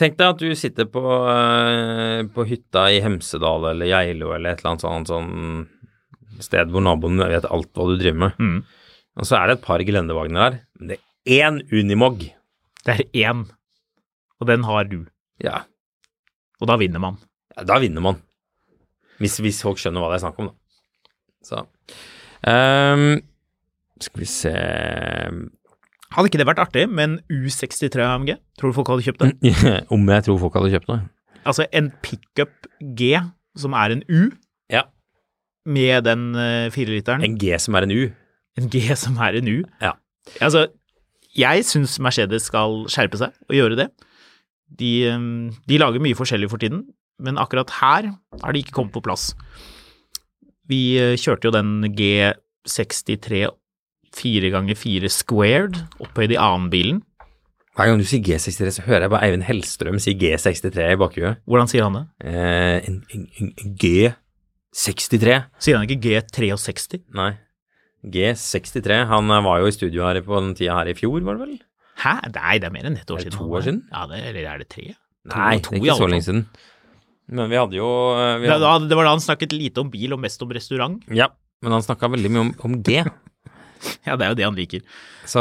Speaker 3: Tenk deg at du sitter på, eh, på hytta i Hemsedal eller Geilo eller et eller annet sånt, sånn sted hvor naboen vet alt hva du driver med.
Speaker 4: Mm.
Speaker 3: Og så er det et par gelendevogner der. Men det er én Unimog.
Speaker 4: Det er én, og den har du.
Speaker 3: Ja,
Speaker 4: Og da vinner man.
Speaker 3: ja, da vinner man. Hvis, hvis folk skjønner hva det er snakk om, da. Så Ehm, Skal vi se *laughs*
Speaker 4: Hadde ikke det vært artig med en U63 AMG? Tror du folk hadde kjøpt den?
Speaker 3: Om jeg tror folk hadde kjøpt noe.
Speaker 4: Altså en pickup G, som er en U,
Speaker 3: Ja.
Speaker 4: med den eh, fireliteren.
Speaker 3: En G som er en U.
Speaker 4: En G som er en U.
Speaker 3: Ja.
Speaker 4: Altså, jeg syns Mercedes skal skjerpe seg og gjøre det. De, eh, de lager mye forskjellig for tiden, men akkurat her har de ikke kommet på plass. Vi eh, kjørte jo den G63 4 ganger 4 squared opphøyd i annen bilen.
Speaker 3: Hver gang du sier G63, så hører jeg bare Eivind Hellstrøm si G63 i bakhuet.
Speaker 4: Hvordan sier han det?
Speaker 3: Eh, en, en, en en G63?
Speaker 4: Sier han ikke G63?
Speaker 3: Nei. G63. Han eh, var jo i studio her på den tida her i fjor, var det vel?
Speaker 4: Hæ? Nei, det er mer enn ett år
Speaker 3: Er det
Speaker 4: siden.
Speaker 3: to år siden?
Speaker 4: Ja, det, eller er det tre? To-
Speaker 3: Nei,
Speaker 4: to
Speaker 3: det
Speaker 4: i
Speaker 3: er ikke
Speaker 4: alle
Speaker 3: så
Speaker 4: fall.
Speaker 3: lenge siden. Men vi hadde jo eh, vi
Speaker 4: Det,
Speaker 3: hadde,
Speaker 4: da, det var da han snakket lite om bil og mest om restaurant. *laughs*
Speaker 3: Ja, men han snakka veldig mye om, om G.
Speaker 4: Ja, det er jo det han liker.
Speaker 3: Så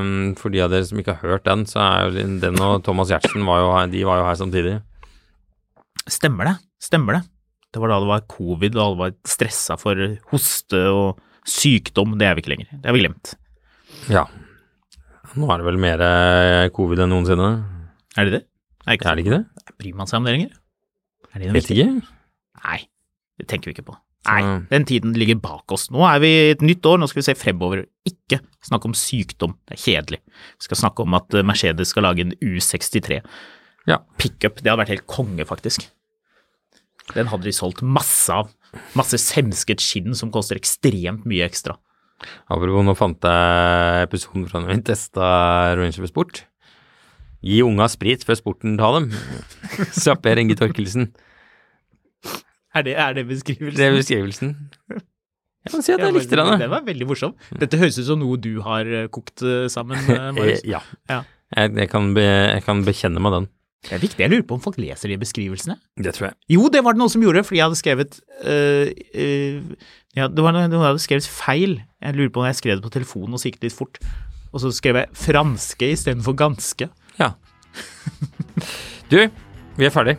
Speaker 3: um, for de av dere som ikke har hørt den, så er jo den og Thomas Giertsen var jo her, de var jo her samtidig.
Speaker 4: Stemmer det? Stemmer det? Det var da det var covid og alle var stressa for hoste og sykdom. Det er vi ikke lenger. Det har vi glemt.
Speaker 3: Ja. Nå er det vel mer eh, covid enn noensinne.
Speaker 4: Er det det? Nei, ikke
Speaker 3: Er det ikke det?
Speaker 4: sant. Bryr man seg om det lenger? Er det noe
Speaker 3: Vet
Speaker 4: viktig?
Speaker 3: ikke.
Speaker 4: Nei, det tenker vi ikke på. Nei,
Speaker 3: Mm.
Speaker 4: den tiden ligger bak oss. Nå er vi i et nytt år, nå skal vi se fremover. Ikke snakke om sykdom, det er kjedelig. Vi skal snakke om at eh, Mercedes skal lage en U63.
Speaker 3: Ja.
Speaker 4: Pickup, det hadde vært helt konge, faktisk. Den hadde de solgt masse av. Masse semsket skinn som koster ekstremt mye ekstra.
Speaker 3: Apropos, nå fant jeg episoden fra når vi testa Rangerover Sport. Gi unga sprit før sporten tar dem, sa Per Inge Torkelsen.
Speaker 4: Er det, er det beskrivelsen?
Speaker 3: Det er beskrivelsen. Jeg må si at jeg likte den.
Speaker 4: Det
Speaker 3: jeg.
Speaker 4: var veldig morsom. Dette høres ut som noe du har eh, kokt eh, sammen, eh,
Speaker 3: Eh,
Speaker 4: Marius.
Speaker 3: *laughs* Ja.
Speaker 4: Ja.
Speaker 3: Jeg, jeg, kan be, jeg kan bekjenne meg den.
Speaker 4: Det er viktig. Jeg lurer på om folk leser de beskrivelsene.
Speaker 3: Det tror jeg.
Speaker 4: Jo, det var det noen som gjorde, fordi jeg hadde skrevet øh, øh, ja, det var noen noen hadde skrevet feil. Jeg lurer på om jeg skrev det på telefonen og så gikk det litt fort. Og så skrev jeg franske istedenfor ganske.
Speaker 3: Ja. Du, vi er ferdig.